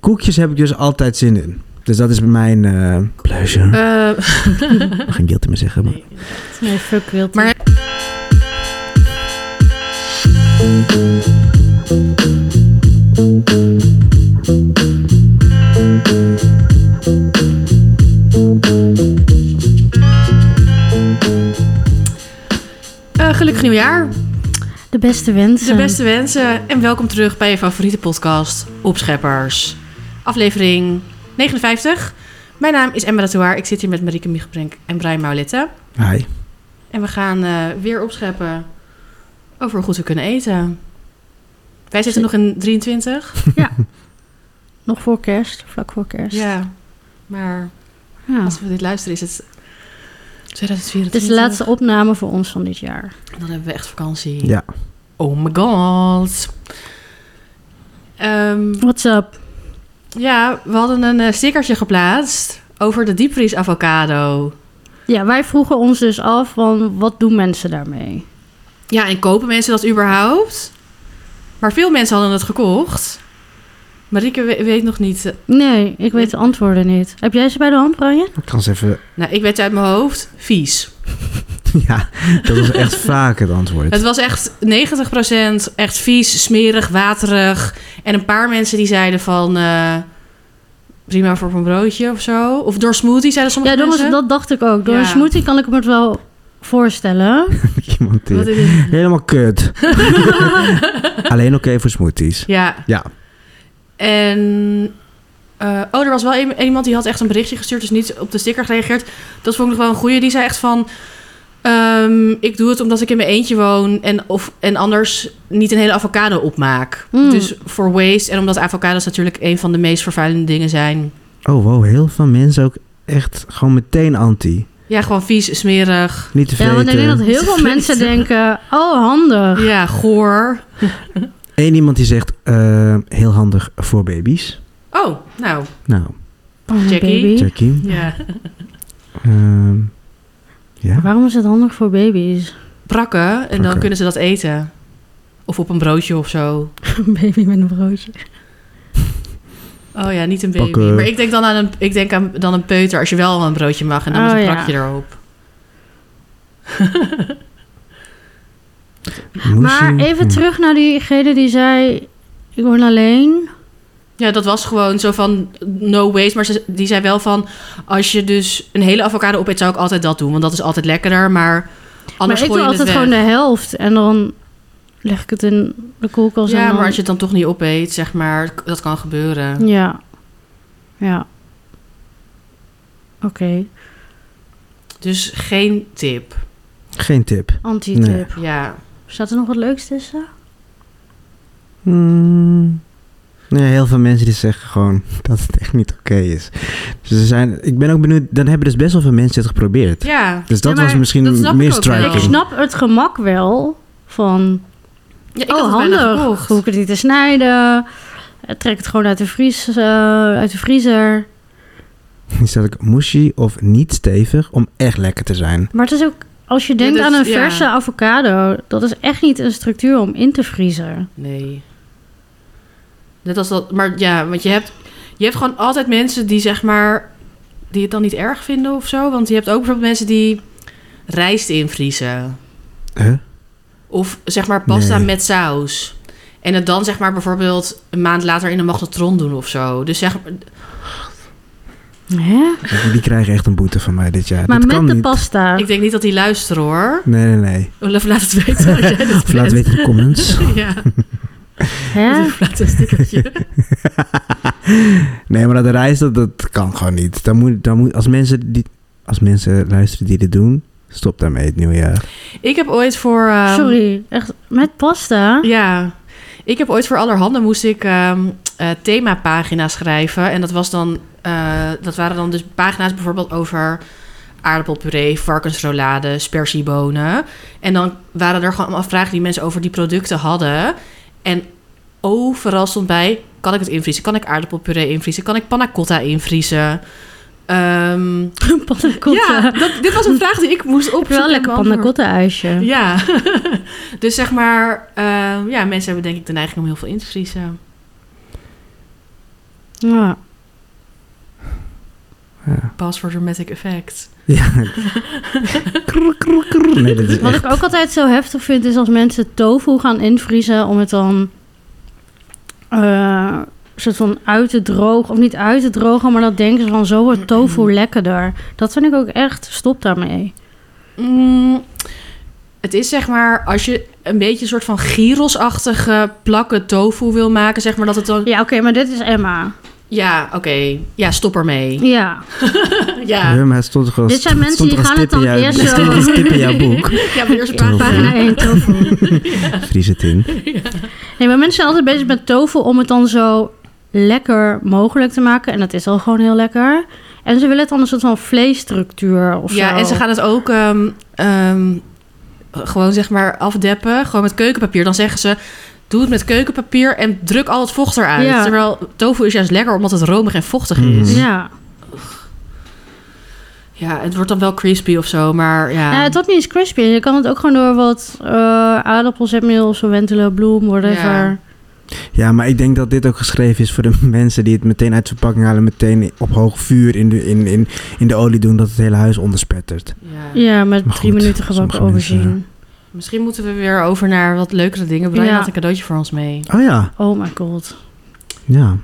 Koekjes heb ik dus altijd zin in. Dus dat is bij mijn eh pleasure. Ik Eh, mag geen guilty meer zeggen. Maar. nee. Nee, fuck wild. Maar- Eh, gelukkig nieuwjaar. de beste wensen. De beste wensen en welkom terug bij je favoriete podcast, Opscheppers. Aflevering 59. Mijn naam is Emma Ratouaar. Ik zit hier met Marieke Miegebrink en Brian Maulette. Hi. En we gaan eh, weer opscheppen over hoe goed we kunnen eten. Wij zitten nog in 23. Nog voor kerst, vlak voor kerst. Ja, maar Ja. als we dit luisteren is het 2024. Het is de laatste opname voor ons van dit jaar. Dan hebben we echt vakantie. Ja. Oh my god. Ehm, What's up? Ja, we hadden een eh, stickertje geplaatst over de diepvriesavocado. Ja, wij vroegen ons dus af van wat doen mensen daarmee? Ja, en kopen mensen dat überhaupt? Maar veel mensen hadden het gekocht. Marieke we- weet nog niet. eh, Nee, ik weet de antwoorden niet. Heb jij ze bij de hand, Brian? Ik kan eens even... Nou, ik weet het uit mijn hoofd. Vies. Ja, dat was echt vaak het antwoord. Het was echt 90% echt vies, smerig, waterig. En een paar mensen die zeiden van... eh, prima voor op een broodje of zo. Of door smoothie zeiden sommige Ja, door, mensen. dat dacht ik ook. Door Ja. een smoothie kan ik me het wel voorstellen. Iemand die- Wat is het? Helemaal kut. Alleen oké voor smoothies. Ja, Ja. En. eh, oh, er was wel een- iemand die had echt een berichtje gestuurd, dus niet op de sticker gereageerd. Dat vond ik nog wel een goeie. Die zei echt van. ehm, ik doe het omdat ik in mijn eentje woon en, of, en anders niet een hele avocado opmaak. Mm. Dus voor waste. En omdat avocados natuurlijk een van de meest vervuilende dingen zijn. Oh wow, heel veel mensen ook echt gewoon meteen anti. Ja, gewoon vies, smerig. Niet te Ja, want ik vreten. denk dat heel veel mensen denken, oh handig. Ja, goor. Eén iemand die zegt, eh, heel handig voor baby's. Oh, nou. Nou, Oh, een Jackie. baby. Jackie. Ja. Ehm, ja. Waarom is het handig voor baby's? Prakken en dan Prakken. kunnen ze dat eten. Of op een broodje of zo. Een baby met een broodje. Oh ja, niet een baby. Pakken. Maar ik denk, dan aan een, ik denk aan dan een peuter als je wel een broodje mag en dan met Oh een ja. prakje erop. Moesie. Maar even Ja. terug naar diegene die zei, ik woon alleen. Ja, dat was gewoon zo van no waste. Maar ze, die zei wel van, als je dus een hele avocado opeet, zou ik altijd dat doen. Want dat is altijd lekkerder, maar anders maar ik gooi doe je altijd het gewoon de weg. helft. En dan leg ik het in de koelkast. en Ja, dan... maar als je het dan toch niet opeet, zeg maar, k- dat kan gebeuren. Ja. Ja. Oké. Dus geen tip. Geen tip. Anti-tip. Nee. Ja, Staat er nog wat leuks tussen? Hmm. Nee, heel veel mensen die zeggen gewoon dat het echt niet oké is. Dus ze zijn, ik ben ook benieuwd, dan hebben dus best wel veel mensen het geprobeerd. ja. Dus dat Ja, maar was misschien dat snap ik meer ook wel. striking. Ik snap het gemak wel van... ja ik had oh, het bijna handig. gekocht. Hoef ik het niet te snijden. Eh, Trek het gewoon uit de, vries, eh, uit de vriezer. Dan stel ik mushy of niet stevig om echt lekker te zijn. Maar het is ook... Als je denkt dat- aan een ja. verse avocado... dat is echt niet een structuur om in te vriezen. Nee. Net als dat, maar ja, want je hebt, je hebt gewoon altijd mensen die zeg maar, die het dan niet erg vinden of zo. Want je hebt ook bijvoorbeeld mensen die rijst invriezen. Huh? Of zeg maar pasta Nee. met saus. En het dan zeg maar bijvoorbeeld een maand later in een magnetron doen of zo. Dus zeg maar, Hè? Die krijgen echt een boete van mij dit jaar. Maar dat met kan de niet. pasta. ik denk niet dat die luisteren hoor. Nee, nee, nee. Of laat het weten als jij Of dit laat vindt. weten in de comments. Ja, Hè? of laat een stickertje. nee, maar dat reis, dat, dat kan gewoon niet. Dan moet, dan moet, als, mensen die, als mensen luisteren die dit doen, stop daarmee het nieuwe jaar. Ik heb ooit voor... ehm, Sorry, echt met pasta? Ja, ik heb ooit voor allerhande moest ik ehm eh themapagina's schrijven. En dat, was dan, eh, dat waren dan dus pagina's bijvoorbeeld over aardappelpuree, varkensrolade, spersiebonen. En dan waren er gewoon allemaal vragen die mensen over die producten hadden. En overal stond bij, kan ik het invriezen? Kan ik aardappelpuree invriezen? Kan ik panna cotta invriezen? Ehm, panna cotta. ja, dat, dit was een vraag die ik moest ik heb wel opzoeken. een lekker en beantwoorden. panna cotta ijsje. Ja, dus zeg maar, ehm, ja, mensen hebben denk ik de neiging om heel veel in te vriezen. Ja. Ja. Pas for dramatic effect. ja. Krr, krr, krr. Nee, dit is Wat echt... ik ook altijd zo heftig vind, is als mensen tofu gaan invriezen om het dan eh soort van uit te drogen. Of niet uit te drogen, maar dat denken ze van zo wordt tofu lekkerder. Dat vind ik ook echt, stop daarmee. Mm, het is zeg maar, als je een beetje een soort van gyrosachtige plakken tofu wil maken, zeg maar dat het dan... Ja, oké, maar dit is Emma. Ja, oké. Ja, stop ermee. Ja. Ja, Ja, maar het stond gewoon, Dit zijn mensen die gaan het dan eerst zo... zo- stond als tip in jouw boek. ja maar eerst een Tofu. paar Pagina pagina's. 1, tofu. Vries het in. Nee, maar mensen zijn altijd bezig met tofu om het dan zo lekker mogelijk te maken. En dat is al gewoon heel lekker. En ze willen het dan een soort van vleesstructuur of zo. Ja, en ze gaan het ook ehm, ehm, gewoon zeg maar afdeppen. Gewoon met keukenpapier. Dan zeggen ze, doe het met keukenpapier en druk al het vocht eruit. Ja. Terwijl tofu is juist lekker omdat het romig en vochtig Mhm. is. Ja. Ja. het wordt dan wel crispy of zo, maar ja. Ja, het wordt niet eens crispy. Je kan het ook gewoon door wat eh, aardappels, zetmeel of zo, wentelen, bloem, whatever. Ja, maar ik denk dat dit ook geschreven is voor de mensen die het meteen uit de verpakking halen, meteen op hoog vuur in de, in, in, in de olie doen, dat het hele huis onderspettert. Ja. Ja, met Maar drie goed, minuten gebakken sommige mensen- aubergine. Misschien moeten we weer over naar wat leukere dingen. Brian Ja. had een cadeautje voor ons mee. Oh ja, Oh my god. ja.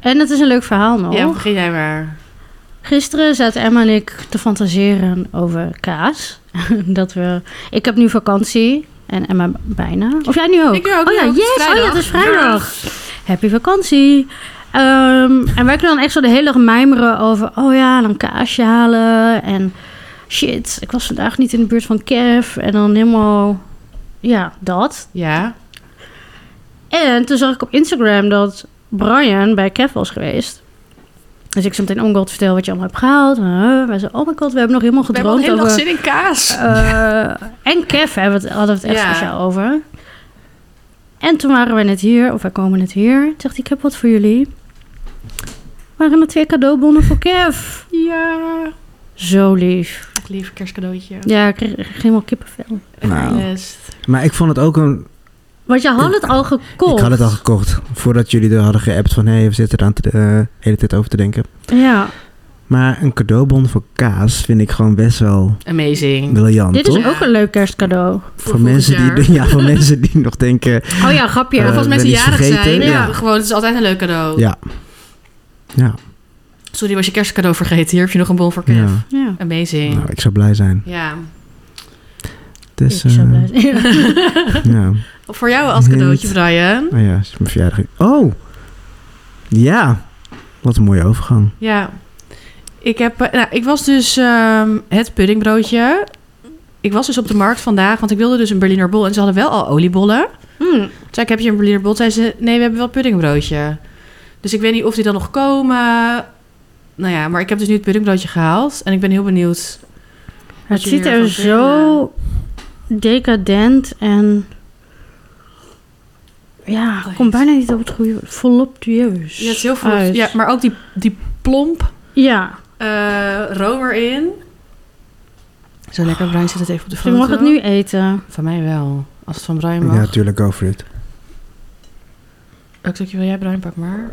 En het is een leuk verhaal nog. Ja, begin jij maar. Gisteren zaten Emma en ik te fantaseren over kaas. dat we... Ik heb nu vakantie en Emma bijna. Of jij nu ook? Ik ook, Oh ja, ja, het is yes! Oh ja, vrijdag. het is vrijdag. Happy vakantie. Ehm, en wij kunnen dan echt zo de hele dag mijmeren over... Oh ja, dan kaasje halen en shit. Ik was vandaag niet in de buurt van Kev. En dan helemaal... Ja, dat. Ja. En toen zag ik op Instagram dat Brian bij Kev was geweest. Dus ik zei meteen, oh my god, vertel wat je allemaal hebt gehaald. Huh? Wij zeiden, oh my god, we hebben nog helemaal We hebben al gedroomd de hele dag over... zin in kaas. eh, en Kev hebben we het, hadden we het echt Ja. speciaal over. En toen waren we net hier, of wij komen net hier. Toen dacht ik, ik heb wat voor jullie. Waren er twee cadeaubonnen voor Kev. Ja. Zo lief. Echt lief kerstcadeautje. Ja, ik kreeg kreeg helemaal kippenvel. Nou. Best. Maar ik vond het ook een... Want je had het al gekocht. Ik had het al gekocht, voordat jullie er hadden geappt van, hé, we zitten er aan te, de hele tijd over te denken. Ja. Maar een cadeaubon voor kaas vind ik gewoon best wel Amazing. briljant, Dit toch? is ook een leuk kerstcadeau. Voor, mensen die, ja, voor mensen die nog denken, Oh ja, grapje. eh, of als mensen ben iets jarig zijn, vergeten, ja. ja. gewoon, het is altijd een leuk cadeau. Ja. ja, Sorry, was je kerstcadeau vergeten. Hier heb je nog een bon voor Kev. ja. ja. Amazing. Nou, ik zou blij zijn. Ja. Dus, ik zou eh, blij zijn. Ja. ja. Voor jou als cadeautje, Hint. Brian. Oh ja, het is mijn verjaardag. Oh! Ja! Wat een mooie overgang. Ja. Ik, heb, eh, nou, ik was dus ehm, het puddingbroodje. Ik was dus op de markt vandaag, want ik wilde dus een Berliner bol. En ze hadden wel al oliebollen. Hmm. Toen zei ik, heb je een Berliner bol? Zei ze, nee, we hebben wel puddingbroodje. Dus ik weet niet of die dan nog komen. Nou ja, maar ik heb dus nu het puddingbroodje gehaald. En ik ben heel benieuwd. Het je ziet hiervan er vindt, zo decadent en... Ja, ik kom bijna niet op het goede woord. Voluptueus. Ja, het is heel veel. uit. Ja, maar ook die, die plomp Ja, eh room erin. Zo lekker, Brian zet het even op de dus foto. ik mag het nu eten. Van mij wel. Als het van Brian mag. Ja, tuurlijk, go for it. Ook stukje Oh, wil jij Brian, pak maar.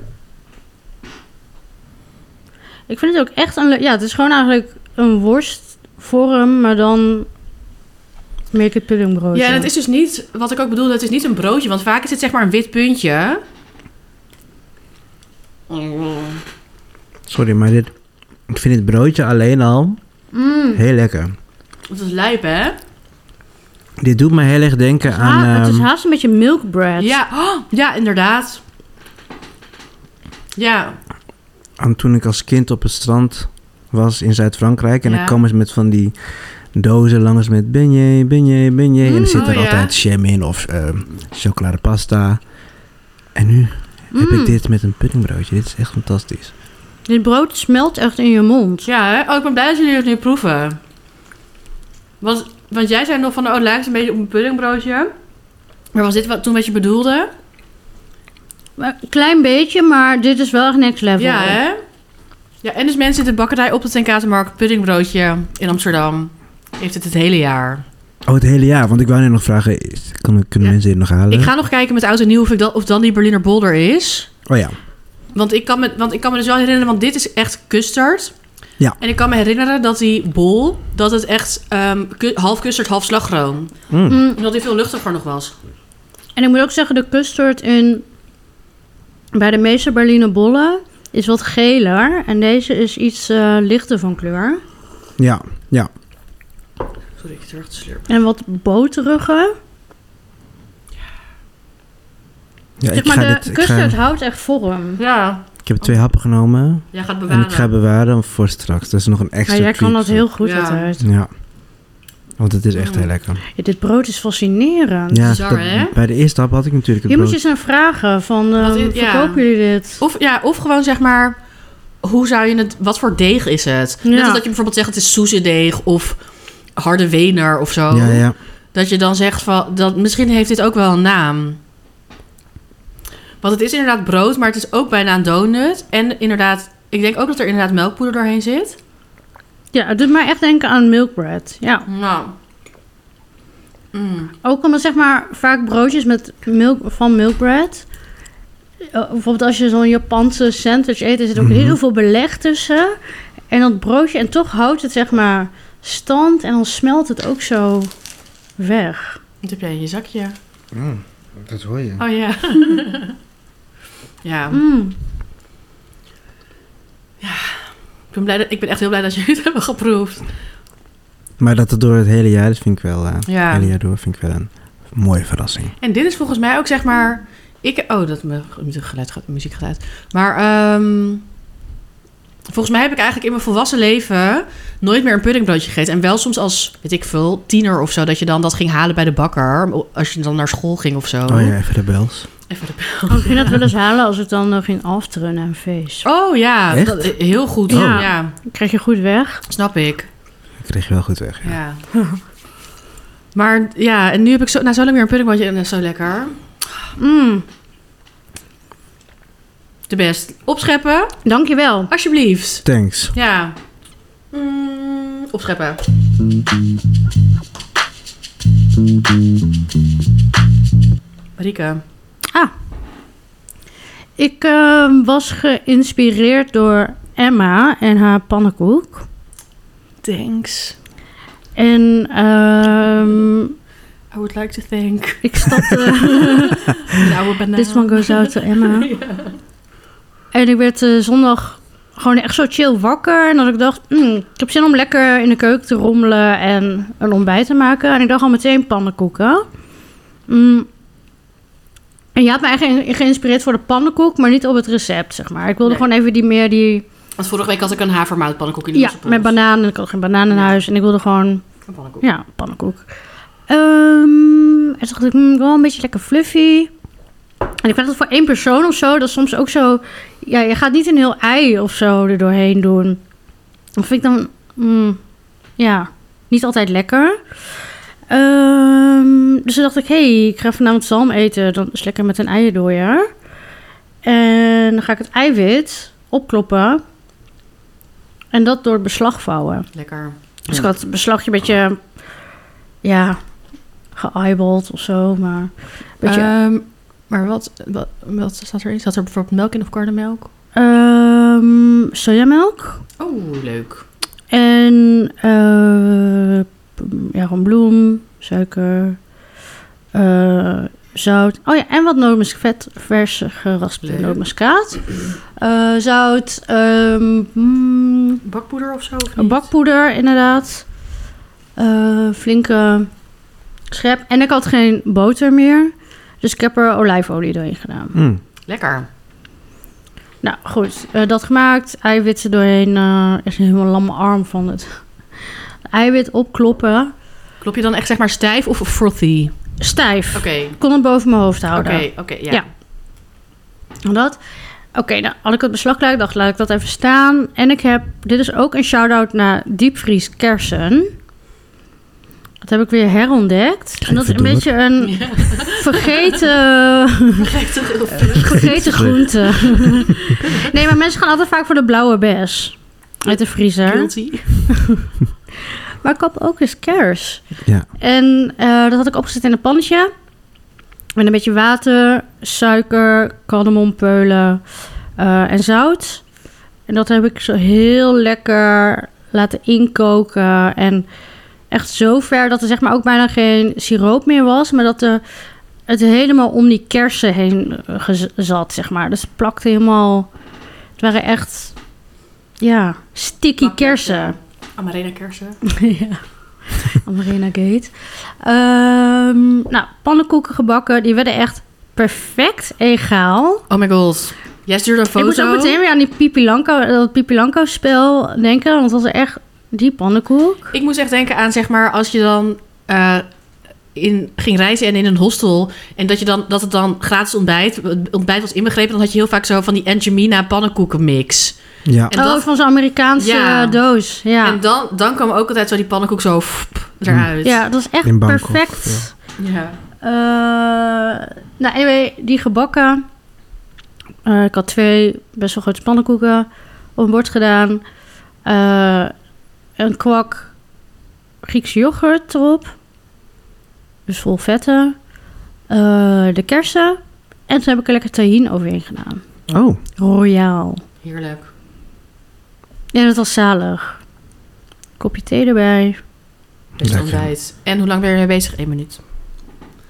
Ik vind het ook echt een... le- Ja, het is gewoon eigenlijk een worstvorm, maar dan... Make it puddingbroodje. Ja, en het is dus niet, wat ik ook bedoel, het is niet een broodje. Want vaak is het zeg maar een wit puntje. Sorry, maar dit... Ik vind het broodje alleen al Mm. heel lekker. Dat is lijp, hè? Dit doet me heel erg denken aan... Ha- het is ehm, haast een beetje milk bread. Ja, oh, ja, inderdaad. Ja, aan toen ik als kind op het strand was in Zuid-Frankrijk. En Ja. dan kwam eens met van die dozen langs met benje, benje, benje. en Mm, er zit oh er ja. altijd jam in of ehm chocoladepasta. En nu heb Mm. ik dit met een puddingbroodje. Dit is echt fantastisch. Dit brood smelt echt in je mond. ja hè? Oh, ik ben blij dat jullie het nu proeven. Want, want jij zei nog van, oh, het lijkt een beetje op een puddingbroodje. Maar was dit wat, toen wat je bedoelde? Maar Een klein beetje, maar dit is wel echt next level. Ja, hè? Ja, en dus mensen in de bakkerij op de Tenkatenmarkt puddingbroodje in Amsterdam. Heeft het het hele jaar. Oh, het hele jaar. Want ik wou net nog vragen, is- kunnen, kunnen Ja. mensen dit nog halen? Ik ga nog kijken met oud en nieuw of, ik dan, of dan die Berliner Bolder is. Oh ja. Want ik, kan me, want ik kan me dus wel herinneren, want dit is echt custard. Ja. En ik kan me herinneren dat die bol, dat het echt ehm, ku- half custard, half slagroom. Mm. Mm. En dat die veel luchtiger nog was. En ik moet ook zeggen, de custard in, bij de meeste Berliner bollen is wat geler. En deze is iets eh, lichter van kleur. Ja, ja. Sorry, ik terug te slurpen. En wat boteriger. ja Zeg ik, maar, ga de dit, ik, ga, custard houdt echt vorm. Ja, ik heb twee happen genomen. jij gaat bewaren. En ik ga bewaren voor straks. Dat is nog een extra Maar jij kan tweak. dat heel goed Ja. altijd. Ja. Want het is echt Mm. heel lekker. Ja, dit brood is fascinerend. Ja, bizar, dat- hè? bij de eerste hap had ik natuurlijk het Hier moet je brood. eens aan vragen van, ehm, Wat is- ja. verkopen jullie dit? Of, ja, of gewoon zeg maar, hoe zou je het, wat voor deeg is het? Ja. Net als dat je bijvoorbeeld zegt, het is soezedeeg of harde wener of zo. Ja, ja. Dat je dan zegt van, dat, misschien heeft dit ook wel een naam. Want het is inderdaad brood, maar het is ook bijna een donut. En inderdaad, ik denk ook dat er inderdaad melkpoeder doorheen zit. Ja, het doet mij echt denken aan milkbread. Ja. Nou. Mm. Ook omdat zeg maar vaak broodjes met milk, van milkbread. Eh, bijvoorbeeld als je zo'n Japanse sandwich eet, er zit ook Mhm. heel veel beleg tussen. En dat broodje, en toch houdt het zeg maar stand en dan smelt het ook zo weg. Wat heb jij in je zakje? Hmm, dat hoor je. Oh ja. ja, Mm. ik ben, blij dat, ik ben echt heel blij dat jullie het hebben geproefd. Maar dat het door het hele jaar is, vind ik wel... eh, Het Ja. hele jaar door vind ik wel een mooie verrassing. En dit is volgens mij ook zeg maar. Ik, oh, dat me- geluid gaat, muziekgeluid. Maar ehm, volgens mij heb ik eigenlijk in mijn volwassen leven nooit meer een puddingbroodje gegeten. En wel soms als, weet ik veel, tiener of zo, dat je dan dat ging halen bij de bakker. Als je dan naar school ging of zo. Oh, ja, even de bels. Even de Oh, ik ging dat wel eens halen als ik dan nog ging afteren na een feest. Oh ja, Echt? dat- heel goed. Oh. Ja. Dan krijg je goed weg. snap ik. Ik kreeg je wel goed weg. Ja. Ja. Maar ja, en nu heb ik zo, nou, zo lang weer een puddingbroodje en dat is zo lekker. Mm. De best. Opscheppen, Dankjewel. alsjeblieft. Thanks. Ja. Mm, opscheppen. Marieke. Ik eh, was geïnspireerd door Emma en haar pannenkoek. Thanks. En ehm, I would like to thank. ik stapte... De oude banaan. This one goes out to Emma. En ik werd eh, zondag gewoon echt zo chill wakker. En dat ik dacht, "Mm, ik heb zin om lekker in de keuken te rommelen en een ontbijt te maken. En ik dacht al meteen pannenkoeken. Mm. En je had me eigenlijk ge- geïnspireerd voor de pannenkoek, maar niet op het recept, zeg maar. Ik wilde Nee. gewoon even die meer die... Want vorige week had ik een havermoutpannenkoek in de dus ja, wassenpot. met banaan. En ik had geen banaan in Ja. huis. En ik wilde gewoon Een pannenkoek. ja, pannenkoek. Ehm en toen dacht ik, mm, wel een beetje lekker fluffy. En ik vind dat voor één persoon of zo, dat is soms ook zo... Ja, je gaat niet een heel ei of zo er doorheen doen. Dat vind ik dan, mm, ja, niet altijd lekker. Ehm, dus toen dacht ik, hé, hey, ik ga vanavond zalm eten. Dan is het lekker met een eierdooier. En dan ga ik het eiwit opkloppen. En dat door het beslag vouwen. Lekker. Dus ik had het beslagje een beetje, ja, geëyeballed of zo, maar een beetje... Ehm, maar wat, wat, wat staat erin? Staat er bijvoorbeeld melk in of karnemelk? Eh, ehm, sojamelk Oh, leuk. en eh, p- ja, gewoon bloem, suiker, eh, zout. Oh ja, en wat nootmuskaat, vers geraspte Leuk. nootmuskaat. Eh, zout, ehm, mm, Bakpoeder of zo? of Een niet? bakpoeder, inderdaad. Eh, flinke schep. En ik had geen boter meer. Dus ik heb er olijfolie doorheen gedaan. Mm. Lekker. Nou, goed. eh, dat gemaakt. Eiwitten doorheen. eh, echt een helemaal lamme arm van het eiwit opkloppen. Klop je dan echt zeg maar stijf of frothy? Stijf. Oké. Ik kon het boven mijn hoofd Oké, houden. oké, ja. Ja. Dat. Oké, nou had ik het beslag klaar. Ik dacht, laat ik dat even staan. En ik heb, dit is ook een shout-out naar diepvries kersen. Dat heb ik weer herontdekt. En dat is een Verdomme. beetje een Ja. vergeten, Vergeet het. vergeten groente. nee, maar mensen gaan altijd vaak voor de blauwe bes. Uit de vriezer. Guilty. Maar ik had ook eens kers. Ja. En eh, dat had ik opgezet in een pannetje. Met een beetje water, suiker, kardemompeulen, eh, en zout. En dat heb ik zo heel lekker laten inkoken. En echt zo ver dat er zeg maar ook bijna geen siroop meer was. Maar dat de, het helemaal om die kersen heen eh, gez- zat, zeg maar. Dus het plakte helemaal... Het waren echt, ja, sticky kersen. Amarena kersen. ja. Amarena Gate. Ehm, nou, pannenkoeken gebakken. Die werden echt perfect egaal. Oh my god. Jij stuurde een foto. Ik moest ook meteen weer aan die Pipilanko, dat Pipilanko-spel denken. Want dat was echt die pannenkoek. Ik moest echt denken aan, zeg maar, als je dan eh, in, ging reizen en in een hostel... en dat, je dan, dat het dan gratis ontbijt, ontbijt was inbegrepen... dan had je heel vaak zo van die Angemina pannenkoekenmix. Ja. En oh, dat- van zo'n Amerikaanse Ja. eh, doos. Ja. En dan, dan kwam ook altijd zo die pannenkoek zo fp, eruit. ja, dat was echt In Bangkok, perfect. ja. Ja. Eh, nou, anyway, die gebakken. Eh, ik had twee best wel grote pannenkoeken op een bord gedaan. Eh, een kwak Griekse yoghurt erop. Dus vol vetten. Eh, de kersen. En toen heb ik er lekker tahin overheen gedaan. Oh, Royaal. Heerlijk. En dat was zalig. Kopje thee erbij. Dus Lekker. ontbijt. En hoe lang ben je ermee bezig? Eén minuut.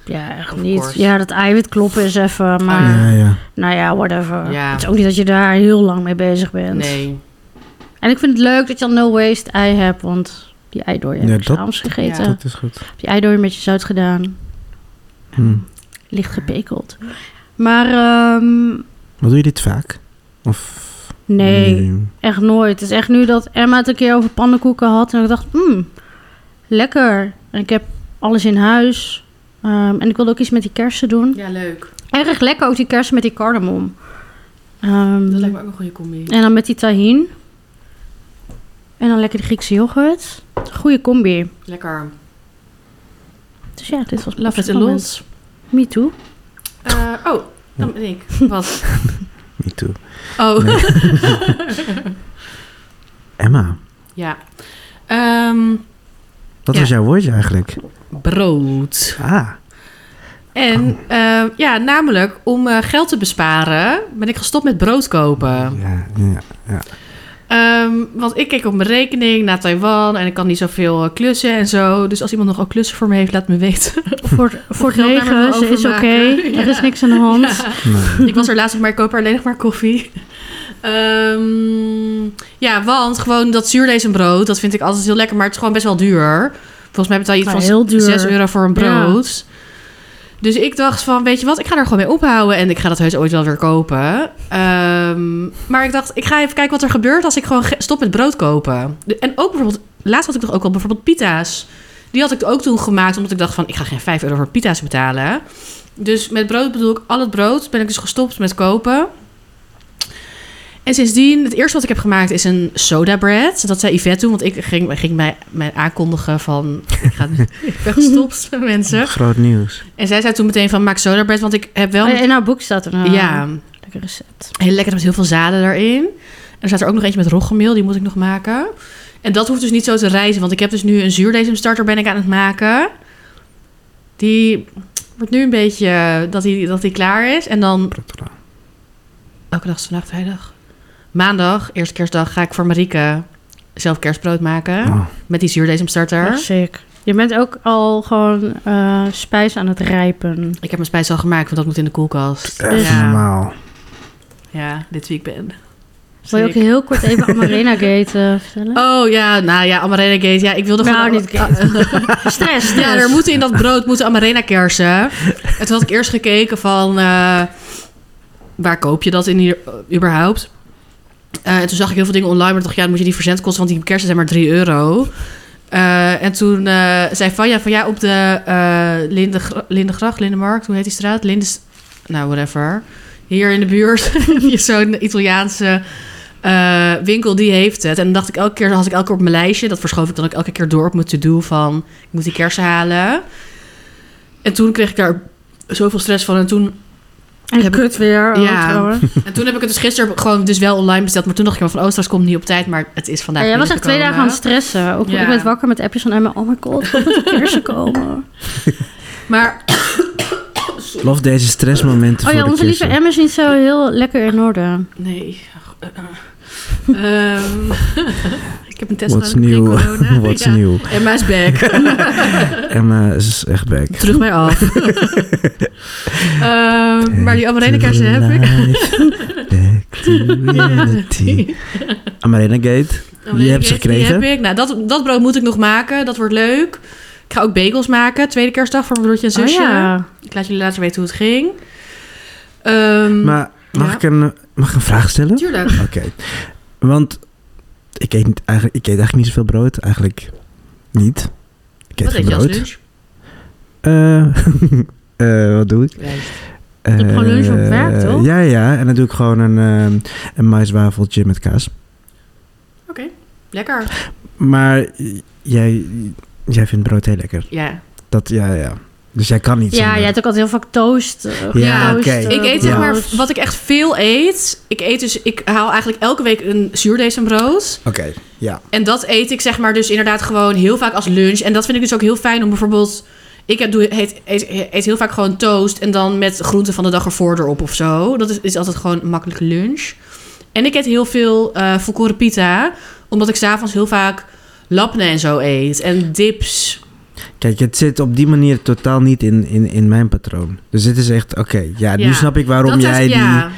Ja, echt Of niet. course. Ja, dat eiwit kloppen is even. Maar Ah. ja, ja. nou ja, whatever. Ja. Het is ook niet dat je daar heel lang mee bezig bent. Nee. En ik vind het leuk dat je dan no waste ei hebt, want die eidooi heb Ja, ik dat- s'avonds gegeten. Ja. Dat is goed. Heb je eidooi met je zout gedaan, Hm. licht gepekeld. Maar ehm, Maar doe je dit vaak? Of... nee, echt nooit. Het is echt nu dat Emma het een keer over pannenkoeken had en ik dacht, hmm, lekker. En ik heb alles in huis. Ehm, en ik wilde ook iets met die kersen doen. Ja, leuk. Erg lekker ook die kersen met die cardamom. Ehm, Dat lijkt me ook een goede combi. En dan met die tahin. En dan lekker de Griekse yoghurt. Goeie combi. Lekker. Dus ja, dit was Love it a Postman. lot. Me too. Eh, oh, dan ben ik. Wat? Me too. Oh. Emma, ja. Ehm, wat Ja. was jouw woordje eigenlijk? brood. Ah, En eh, ja, namelijk om eh, geld te besparen ben ik gestopt met brood kopen. ja, ja. Ehm, want ik keek op mijn rekening naar Taiwan en ik kan niet zoveel eh, klussen en zo. Dus als iemand nog al klussen voor me heeft, laat me weten. Voor, voor het geld daar maar negen van ze is oké. overmaken. Er is Ja. niks aan de hand. Nee. ik was er laatst nog maar, ik koop er alleen nog maar koffie. Ehm, ja, want gewoon dat zuurdezenbrood, dat vind ik altijd heel lekker, maar het is gewoon best wel duur. Volgens mij betaal je iets Ja, van heel duur. 6 euro voor een Ja. brood. Dus ik dacht van, weet je wat, ik ga er gewoon mee ophouden en ik ga dat heus ooit wel weer kopen. Ehm, maar ik dacht, ik ga even kijken wat er gebeurt als ik gewoon ge- stop met brood kopen. De- En ook bijvoorbeeld, laatst had ik nog ook al bijvoorbeeld pita's. Die had ik ook toen gemaakt, omdat ik dacht van, ik ga geen 5 euro voor pita's betalen. Dus met brood bedoel ik al het brood. Ben ik dus gestopt met kopen. En sindsdien, het eerste wat ik heb gemaakt is een soda bread. Dat zei Yvette toen, want ik ging, ging mij, mij aankondigen van... Ik, ga, ik ben gestopt met mensen. Groot nieuws. En zij zei toen meteen van, maak soda bread, want ik heb wel... Eh, In haar boek staat er een eh, ja, lekker recept. heel lekker met heel veel zaden erin. En er staat er ook nog eentje met roggemeel, die moet ik nog maken. En dat hoeft dus niet zo te reizen, want ik heb dus nu een zuurdezemstarter ben ik aan het maken. Die wordt nu een beetje eh, dat die, dat die klaar is. En dan elke dag is vandaag vrijdag. Maandag, eerste kerstdag, ga ik voor Marieke zelf kerstbrood maken. Oh, Met die zuurdezemstarter. Echt sick. Je bent ook al gewoon eh, spijs aan het rijpen. Ik heb mijn spijs al gemaakt, want dat moet in de koelkast. echt Ja, normaal. ja, dit wie ik ben. Wil je ook Sick. heel kort even Amarena Gate eh, vertellen? Oh ja, nou ja, Amarena Gate. Ja, ik wilde Nou, gewoon... niet Stress, Ja, stress. er moeten in dat brood moeten Amarena kersen. En toen had ik eerst gekeken van... eh, waar koop je dat in hier eh, überhaupt? Eh, en toen zag ik heel veel dingen online. Maar toen dacht ik, ja, dan moet je die verzendkosten... want die kersen zijn maar 3 euro. Eh, en toen eh, zei Vanja van... ja, op de eh Lindegra- Lindegracht, Lindemarkt... hoe heet die straat? Lindes... nou, whatever. Hier in de buurt heb je zo'n Italiaanse... eh, winkel die heeft het. En dan dacht ik elke keer, had ik elke keer op mijn lijstje. Dat verschoof ik dan ook elke keer door op mijn to-do van ik moet die kersen halen. En toen kreeg ik daar zoveel stress van. En toen, En heb ik- kut weer. oh, Ja. trouwens. en toen heb ik het dus gisteren gewoon dus wel online besteld. Maar toen dacht ik wel van, oh, straks komt het niet op tijd. Maar het is vandaag Ja, jij was echt twee dagen aan binnengekomen. het stressen. Ook, Ja. Ik werd wakker met appjes van Emma. Oh my god, wat moet de kersen komen? Maar, Love deze stressmomenten Oh ja, voor onze de lieve kissen. M is niet zo heel lekker in orde. Nee. Ehm, ik heb een test What's nodig, nieuw? geen corona. What's Ja. nieuw? Emma is back. Emma is dus echt back. Terug mij af. Ehm, maar die amarenekaarsen heb ik. ik. Amarena Gate. Die heb ze Amarenekaarsen, gekregen. heb ik. Nou, dat, dat brood moet ik nog maken. Dat wordt leuk. Ik ga ook bagels maken. Tweede kerstdag voor mijn broertje en zusje. Oh ja. Ik laat jullie later weten hoe het ging. Ehm, Maar mag, Ja. ik een, mag ik een vraag stellen? Tuurlijk. Oké. Want ik eet, niet, eigenlijk, ik eet eigenlijk niet zoveel brood. Eigenlijk niet. Ik eet Wat geen eet je als brood. lunch? Eh, eh, wat doe ik? Je hebt gewoon lunch op Eh, werk, toch? Ja, ja. En dan doe ik gewoon een, eh, een maiswafeltje met kaas. Lekker. Maar jij, jij vindt brood heel lekker. Ja. Dat, ja, ja. Dus jij kan niet Ja, zonder. jij hebt ook altijd heel vaak toast. eh, Ja, getoast, oké. eh, Ik eet zeg Ja. maar brood. wat ik echt veel eet. Ik eet dus, ik haal eigenlijk elke week een zuurdezenbrood. Oké, ja. En dat eet ik zeg maar dus inderdaad gewoon heel vaak als lunch. En dat vind ik dus ook heel fijn om bijvoorbeeld... Ik heb, doe, eet, eet, eet heel vaak gewoon toast en dan met groenten van de dag ervoor erop of zo. Dat is, is altijd gewoon een makkelijke lunch. En ik eet heel veel eh volkoren pita. Omdat ik s'avonds heel vaak lapne en zo eet. En dips. Kijk, het zit op die manier totaal niet in, in, in mijn patroon. Dus dit is echt, oké, ja, nu Ja. snap ik waarom Dat jij is- ja.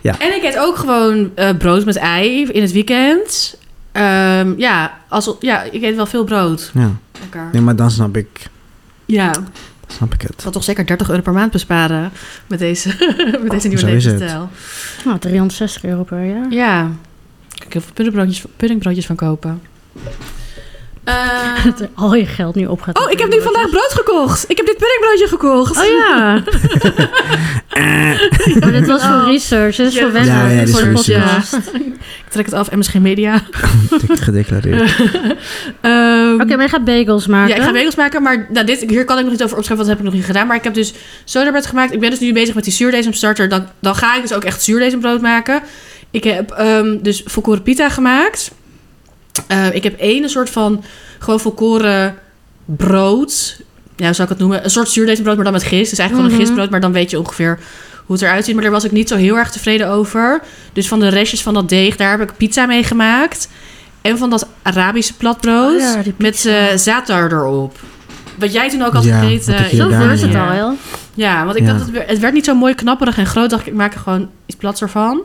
Ja. En ik eet ook gewoon eh, brood met ei in het weekend. Ehm, ja, als, ja, ik eet wel veel brood. die... Ja, Lekker. nee, maar dan snap ik, Ja, snap ik ik het. zal toch zeker 30 euro per maand besparen met deze, met deze nieuwe Oh, Zo is het. levensstijl. Nou, 360 euro per jaar. Ja, daar kan ik heel veel puddingbroodjes, puddingbroodjes van kopen. Eh, Dat er al je geld nu op gaat. oh, ik heb nu vandaag brood gekocht. Ik heb dit puddingbroodje gekocht. Oh ja. maar dit was voor Eh. Oh. research. Dit is Ja. voor Ja, ja, wennen. dit is voor de voor research. podcast. Ik trek het af en misschien media. Ik gedeclareerd. Ehm, Oké, maar je gaat bagels maken. Ja, ik ga regels maken, maar nou, dit, hier kan ik nog niet over opschrijven, want dat heb ik nog niet gedaan. Maar ik heb dus sodabread gemaakt. Ik ben dus nu bezig met die zuurdesemstarter. Dan, dan ga ik dus ook echt zuurdezenbrood maken. Ik heb ehm, dus volkoren pita gemaakt. Eh, ik heb één soort van gewoon volkoren brood. Ja, hoe zou ik het noemen? Een soort zuurdezenbrood, maar dan met gist. Dus eigenlijk gewoon Mhm. een gistbrood, maar dan weet je ongeveer hoe het eruit ziet. Maar daar was ik niet zo heel erg tevreden over. Dus van de restjes van dat deeg, daar heb ik pizza mee gemaakt. En van dat Arabische platbrood Oh ja, die met pizza. eh, zatar erop. Wat jij toen ook had Ja, gegeten. wat ik Zo Ja, daar- versatile. Ja. al. Ja, want ik Ja. dacht, het werd, het werd niet zo mooi knapperig en groot. dacht ik, ik maak er gewoon iets plats ervan.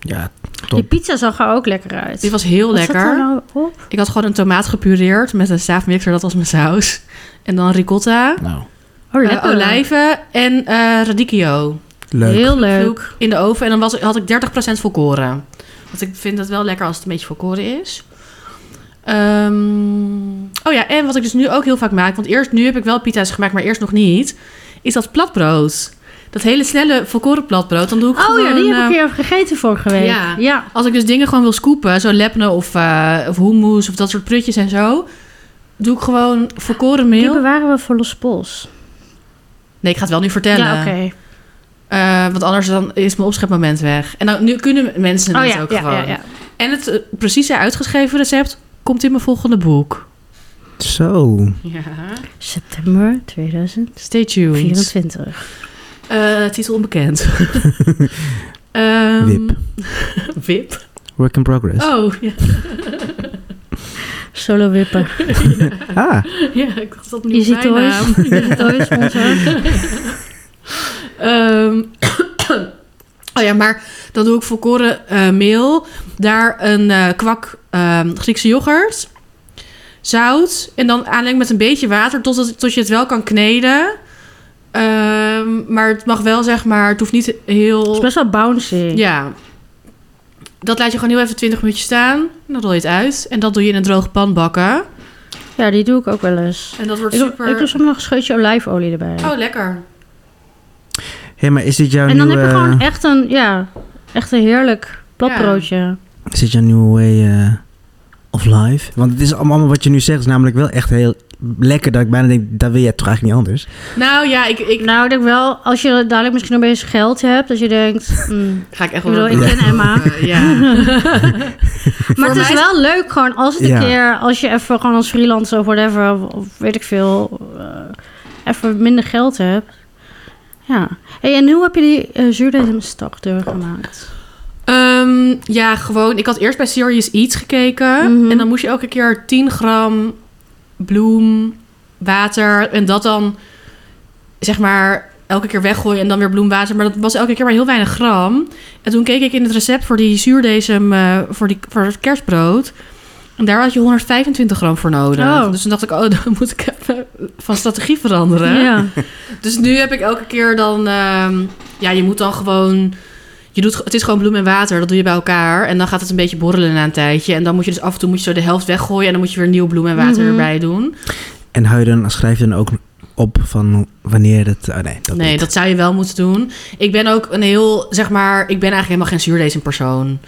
Ja, Die top. pizza zag er ook lekker uit. Dit was heel Wat zat daar lekker. nou op? Ik had gewoon een tomaat gepureerd met een staafmixer. Dat was mijn saus. En dan ricotta, Nou, Oh, eh, lekker. olijven en eh, radicchio. leuk. Heel leuk. Vloek in de oven. En dan was, had ik 30% volkoren. Want ik vind dat wel lekker als het een beetje volkoren is. Ehm, oh ja, en wat ik dus nu ook heel vaak maak... want eerst nu heb ik wel pita's gemaakt, maar eerst nog niet... is dat platbrood. Dat hele snelle volkoren platbrood. Dan doe ik Oh gewoon... ja, die heb ik eh, een keer gegeten vorige week. Ja. ja. als ik dus dingen gewoon wil scoopen... zo lepne of, eh of hummus of dat soort prutjes en zo... doe ik gewoon volkoren Die meel. bewaren we voor Los Pols. Nee, ik ga het wel nu vertellen. Ja, oké. Eh, want anders dan is mijn opschepmoment weg. En dan, nu kunnen mensen Oh het ja, ook ja, gewoon. ja, ja. En het eh, precieze uitgeschreven recept komt in mijn volgende boek. Zo. Ja. September 2024. Stay tuned. Eh, titel onbekend. Ehm, Wip. Wip. Work in progress. Oh, ja. Solo wippen. Oh. Ah, ja ik dacht dat nu Easy mijn naam. Toys. Easy Toys sponsor. Ehm, oh ja, maar dan doe ik volkoren eh meel. Daar een eh, kwak ehm, Griekse yoghurt. Zout. En dan aanlengen met een beetje water tot, tot je het wel kan kneden. Ehm, maar het mag wel, zeg maar, het hoeft niet Het is heel... best wel bouncy. Ja. Dat laat je gewoon heel even 20 minuutjes staan. En dan rol je het uit. En dat doe je in een droge pan bakken. Ja, die doe ik ook wel eens. En dat wordt Ik doe, super... ik doe soms nog een scheutje olijfolie erbij. Oh, lekker. hé, maar is dit jouw en dan nieuwe... heb je gewoon echt een, ja, echt een heerlijk platbroodje. Is dit jouw nieuwe way eh, of life? Want het is allemaal wat je nu zegt, is namelijk wel echt heel lekker dat ik bijna denk, dat wil jij toch eigenlijk niet anders? Nou ja, ik, ik Nou, ik denk wel, als je dadelijk misschien nog eens geld hebt, dat je denkt... mm. ga ik echt Ik bedoel, wel... ik ken Emma. Eh, ja. Maar het mij is is- wel leuk gewoon als het een Ja. keer, als je even gewoon als freelancer of whatever, of weet ik veel, eh, even minder geld hebt. Ja. Hey, en hoe heb je die eh zuurdesemstarter gemaakt? Ehm, ja, gewoon. Ik had eerst bij Serious Eats gekeken. Mhm. En dan moest je elke keer 10 gram bloem, water. En dat dan, zeg maar, elke keer weggooien. En dan weer bloemwater. Maar dat was elke keer maar heel weinig gram. En toen keek ik in het recept voor die zuurdesem, eh, voor, die, voor het kerstbrood. En daar had je 125 gram voor nodig. Oh. Dus toen dacht ik, oh, dan moet ik even van strategie veranderen. Ja. Dus nu heb ik elke keer dan... ehm, ja, je moet dan gewoon... Je doet, het is gewoon bloem en water, dat doe je bij elkaar. En dan gaat het een beetje borrelen na een tijdje. En dan moet je dus af en toe moet je zo de helft weggooien... en dan moet je weer nieuw bloem en water Mhm. erbij doen. En hou je dan, schrijf je dan ook op van wanneer het... Oh nee, dat nee, niet. dat zou je wel moeten doen. Ik ben ook een heel, zeg maar... Ik ben eigenlijk helemaal geen zuurdesem-persoon.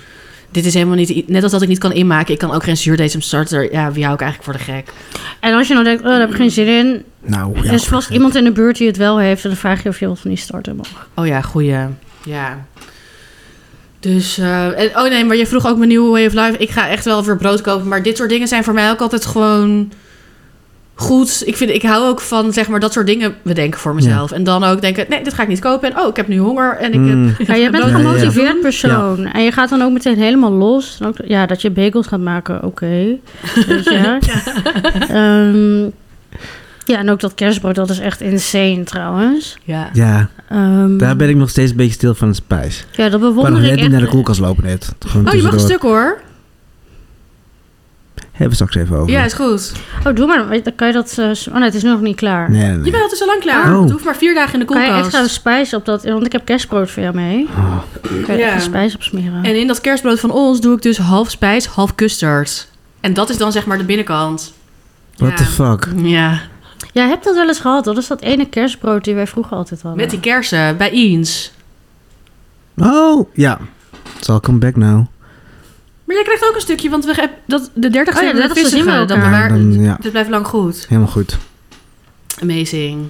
Dit is helemaal niet... i- Net als dat ik niet kan inmaken, ik kan ook geen zuurdesem-starter. Ja, wie hou ik eigenlijk voor de gek? En als je nou denkt, oh, daar heb ik geen zin in. Nou, ja, er is vast precies. iemand in de buurt die het wel heeft. En dan vraag je of je wat van die starter mag. Oh ja, goeie. Ja. Dus, eh, en, oh nee, maar je vroeg ook mijn nieuwe way of life. Ik ga echt wel weer brood kopen, maar dit soort dingen zijn voor mij ook altijd gewoon goed. Ik, vind, ik hou ook van, zeg maar, dat soort dingen bedenken voor mezelf. En dan ook denken, nee, dit ga ik niet kopen. En oh, ik heb nu honger en ik heb... Mm. Ja, je bent Ja, een ja, ja. gemotiveerd persoon. En je gaat dan ook meteen helemaal los. En ook- ja, dat je bagels gaat maken, oké. Weet je? Ehm, ja, en ook dat kerstbrood, dat is echt insane trouwens. Ja. Mm, Ja, Ehm, Mm. daar ben ik nog steeds een beetje stil van het spijs. Ik Ja, dat ben nog bewonder net ik niet naar de echt. koelkast lopen net. Gewoon Oh, je mag een tussendoor. stuk hoor. Hebben we straks even over. Ja, is goed. Oh, doe maar. weet- Dan kan je dat... eh, s- oh nee, het is nu nog niet klaar. Nee, nee, Je nee. bent altijd zo lang klaar. Oh. Het hoeft maar vier dagen in de Kan je koelkast. extra spijs op dat... Want ik heb kerstbrood voor jou mee. Oh, Kan je Ja. extra spijs op smeren. En in dat kerstbrood van ons doe ik dus half spijs, half custard. En dat is dan zeg maar de binnenkant. what Ja. the fuck? Ja. Jij hebt dat wel eens gehad. Dat is dat ene kerstbrood die wij vroeger altijd hadden. Met die kersen bij Iens. Oh, ja. Zal come back now. Maar jij krijgt ook een stukje, want we hebben dat, de 30 Oh ja, hebben we 30ste vissen zien we ge- dat elkaar. bewaar- Ja, dan- ja. Dit blijft lang goed. Helemaal goed. Amazing.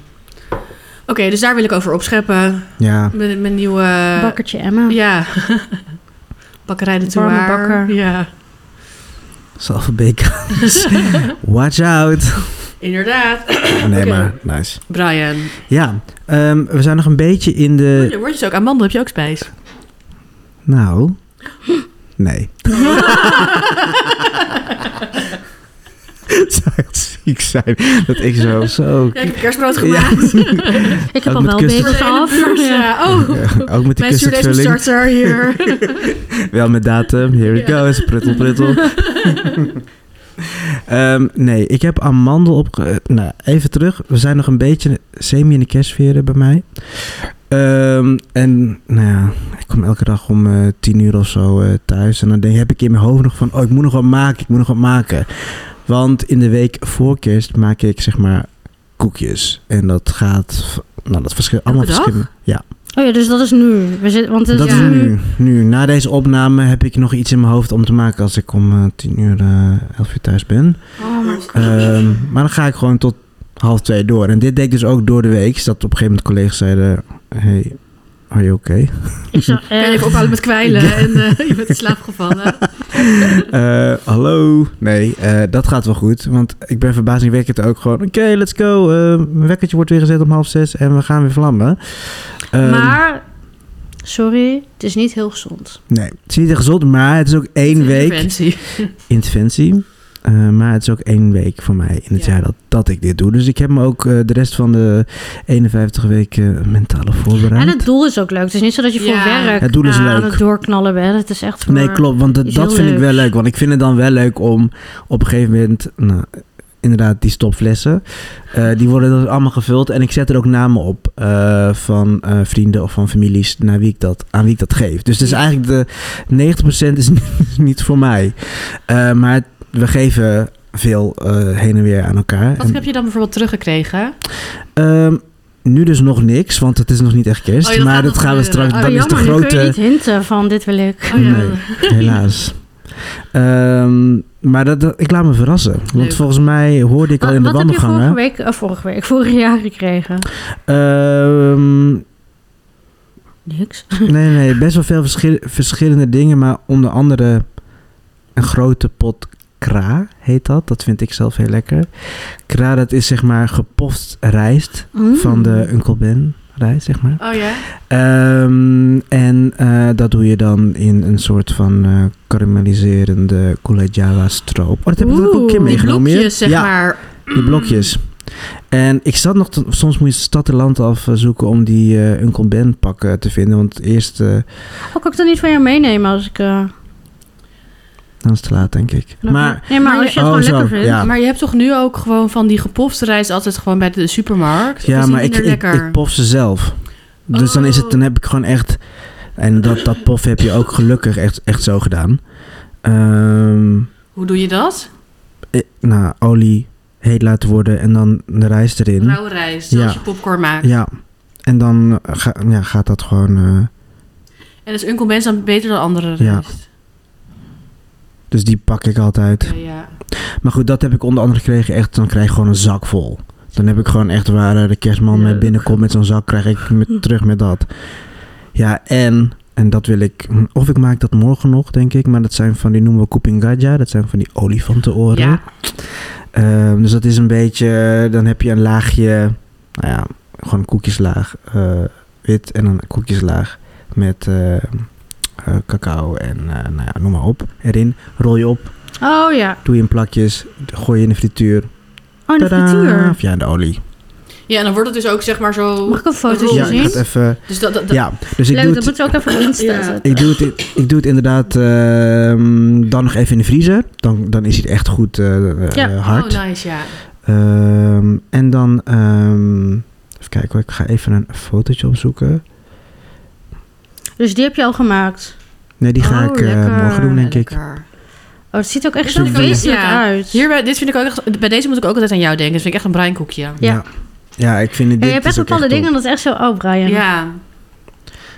Oké, dus daar wil ik over opscheppen. Ja. Mijn, mijn nieuwe... Bakkertje Emma. Ja. Bakkerij de Warme Tour. bakker. Ja. Salvebeek. Watch out. Inderdaad. Oh, nee, Oké. maar nice. Brian. Ja, ehm, we zijn nog een beetje in de... Dan word je zo ook. Amandel heb je ook spijs. Nou, nee. Het zou echt ziek zijn dat ik zo... zo Ja, ik heb Ja. kerstbrood gemaakt. Ik heb Ook al met wel kussen. bagels af. Ja. Ja. Oh, ook met die mijn kussenvulling. starter hier. Wel met datum. Here we Ja. go. Is pruttel, pruttel. Ehm, nee, ik heb amandel op... nou, even terug. We zijn nog een beetje semi in de kerstsfeer bij mij. Ehm, en nou ja, ik kom elke dag om eh tien uur of zo eh, thuis. En dan denk, heb ik in mijn hoofd nog van... Oh, ik moet nog wat maken. Ik moet nog wat maken. Want in de week voor kerst maak ik zeg maar koekjes. En dat gaat... Nou, dat verschil, allemaal dag? verschillende... Ja. Oh ja, dus dat is nu. We zitten, want het Dat is is Ja. nu. Nu, na deze opname heb ik nog iets in mijn hoofd om te maken als ik om eh, 10 uur, eh 11 uur thuis ben. Oh, maar- Ehm, maar dan ga ik gewoon tot half twee door. En dit deed ik dus ook door de week. Dat op een gegeven moment collega's zeiden, hey, are you okay? ik eh, zag Kan je echt... even ophouden met kwijlen en eh, je bent in slaap gevallen. Eh, hallo? Nee, eh, dat gaat wel goed. Want ik ben verbazingwekkend ook gewoon, oké, let's go. Eh, mijn wekkertje wordt weer gezet om half zes en we gaan weer vlammen. Ehm, Maar, sorry, het is niet heel gezond. Nee, het is niet echt gezond, maar het is ook één week. Interventie. interventie. Eh, maar het is ook één week voor mij in het Ja. jaar dat, dat ik dit doe. Dus ik heb me ook eh, de rest van de 51 weken mentale voorbereid. En het doel is ook leuk. Het is niet zo dat je voor Ja. werk eh, Het doel is aan leuk. het doorknallen bent. Het is echt voor... Nee, klopt. Want dat, Is dat heel vind ik wel leuk. leuk. Want ik vind het dan wel leuk om op een gegeven moment... Nou, inderdaad, die stopflessen. eh, die worden dan allemaal gevuld. En ik zet er ook namen op eh, van eh, vrienden of van families naar wie ik dat, aan wie ik dat geef. Dus het is eigenlijk de 90% is niet voor mij. Eh, maar het- we geven veel eh, heen en weer aan elkaar. Wat En- heb je dan bijvoorbeeld teruggekregen? Ehm, nu dus nog niks, want het is nog niet echt kerst. Oh ja, dat maar gaat dat nog gaan we gebeuren. straks. Oh, dan jammer, is de nu kun je grote. niet hinten van dit wil ik. Oh ja. Nee. Helaas. Ehm, maar dat, dat- ik laat me verrassen. Want Leuk. volgens mij hoorde ik al Wat, in de wat heb je vorige wandelgangen. week, eh, vorige week, vorig jaar gekregen? Ehm, Niks. nee, nee, best wel veel verschil- verschillende dingen. Maar onder andere een grote pot kra heet dat. Dat vind ik zelf heel lekker. Kra, dat is zeg maar gepoft rijst. Mm. van de Uncle Ben. gereisd, zeg maar. Oh ja? Ehm, en eh, dat doe je dan in een soort van eh karamelliserende collegiala stroop. Oh, dat heb ik ook een Oeh, keer die Die meegenomen. hier. blokjes, zeg ja, maar. die blokjes. En ik zat nog, te- soms moet je stad en land afzoeken om die eh Uncle Ben pakken te vinden. Want eerst, eh, Oh, kan ik dat niet van jou meenemen als ik... eh, dan is het te laat, denk ik. nog- Maar, nee, maar maar als je het oh, gewoon zo, lekker vindt. ja. Maar je hebt toch nu ook gewoon van die gepofte rijst altijd gewoon bij de supermarkt? Of is ja, die maar ik, minder ik, lekker? Oh. ik pof ze zelf. Dus dan, is het, dan heb ik gewoon echt... En dat, dat pof heb je ook gelukkig echt, echt zo gedaan. Ehm... Hoe doe je dat? eh, nou, olie heet laten worden en dan de rijst erin. Rauwe rijst, Ja. zoals je popcorn maakt. Ja, en dan eh, ga- ja, gaat dat gewoon. eh, En is Uncle Ben's dan beter dan andere Ja. rijst? dus die pak ik altijd. Ja. ja. Maar goed, dat heb ik onder andere gekregen. Echt, dan krijg ik gewoon een zak vol. Dan heb ik gewoon echt waar eh, de kerstman mee Leuk. binnenkomt met zo'n zak, krijg ik met, terug met dat. Ja, en, en dat wil ik, hm, of ik maak dat morgen nog, denk ik, maar dat zijn van, die noemen we kupingaja, dat zijn van die olifantenoren. Ja. Ehm, dus dat is een beetje, dan heb je een laagje, nou ja, gewoon een koekjeslaag eh, wit en een koekjeslaag met eh, eh, cacao en eh, nou ja, noem maar op erin. Rol je op, Oh ja. doe je in plakjes, gooi je in de frituur. Oh, de Tadaa! frituur. Of ja, in de olie. en dan wordt het dus ook zeg maar zo... Mag ik een foto Rol ja, je ik ga zien? het even, Dus dat, dat, dat- ja, dus ik Leuk, doe dat het, moeten we ook even op Insta Ja. zetten. ik doe het, in- ik doe het inderdaad ehm, dan nog even in de vriezer. Dan, dan is hij echt goed eh, eh, Ja. hard. Oh, nice, ja. Ehm, en dan, ehm, even kijken hoor, ik ga even een fotootje opzoeken. Dus die heb je al gemaakt. Nee, die ga Oh, ik eh, lekker. morgen doen, denk ik. Ah, Lekker. Oh, het ziet ook echt Is zo dat leuk? feestelijk Ja. uit. Hier, bij, dit vind ik ook echt, bij deze moet ik ook altijd aan jou denken. Dat vind ik echt een breinkoekje. Ja. ja. Ja, ik vind het. Ja, je dit hebt is echt ook bepaalde top. dingen dat is echt zo... Oh, Brian. Ja.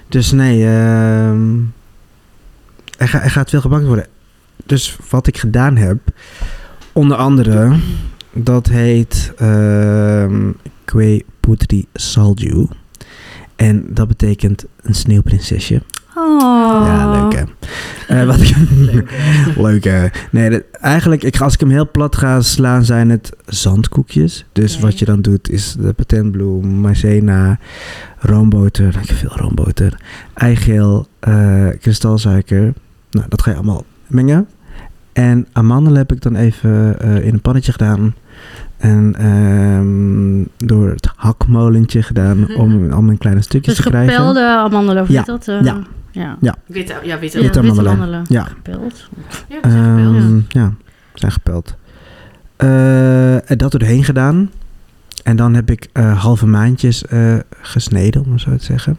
Dus nee, ehm er, ga- er gaat veel gebakken worden. Dus wat ik gedaan heb, onder andere, dat heet ehm Kwe Putri Salju. En dat betekent een sneeuwprinsesje. Oh. Ja, leuk hè. Eh, wat ik, leuk hè. Nee, dat- eigenlijk, ik, ga- als ik hem heel plat ga slaan, zijn het zandkoekjes. Dus Oké. wat je dan doet, is de patentbloem, maizena, roomboter, ik heb veel roomboter, eigeel, eh, kristalsuiker. Nou, dat ga je allemaal mengen. En amandelen heb ik dan even eh, in een pannetje gedaan. En ehm, door het hakmolentje gedaan om allemaal in kleine stukjes Dus te krijgen. gepelde amandelen, of Ja. niet dat? eh, Ja. ja. Witte, ja, witte. Ja, Witte amandelen. Ja. Gepeld. Ja, dat is echt wel. Ehm, ja, zijn gepeld. Eh, en dat er doorheen gedaan. En dan heb ik eh, halve maandjes eh, gesneden, om het zo te zeggen.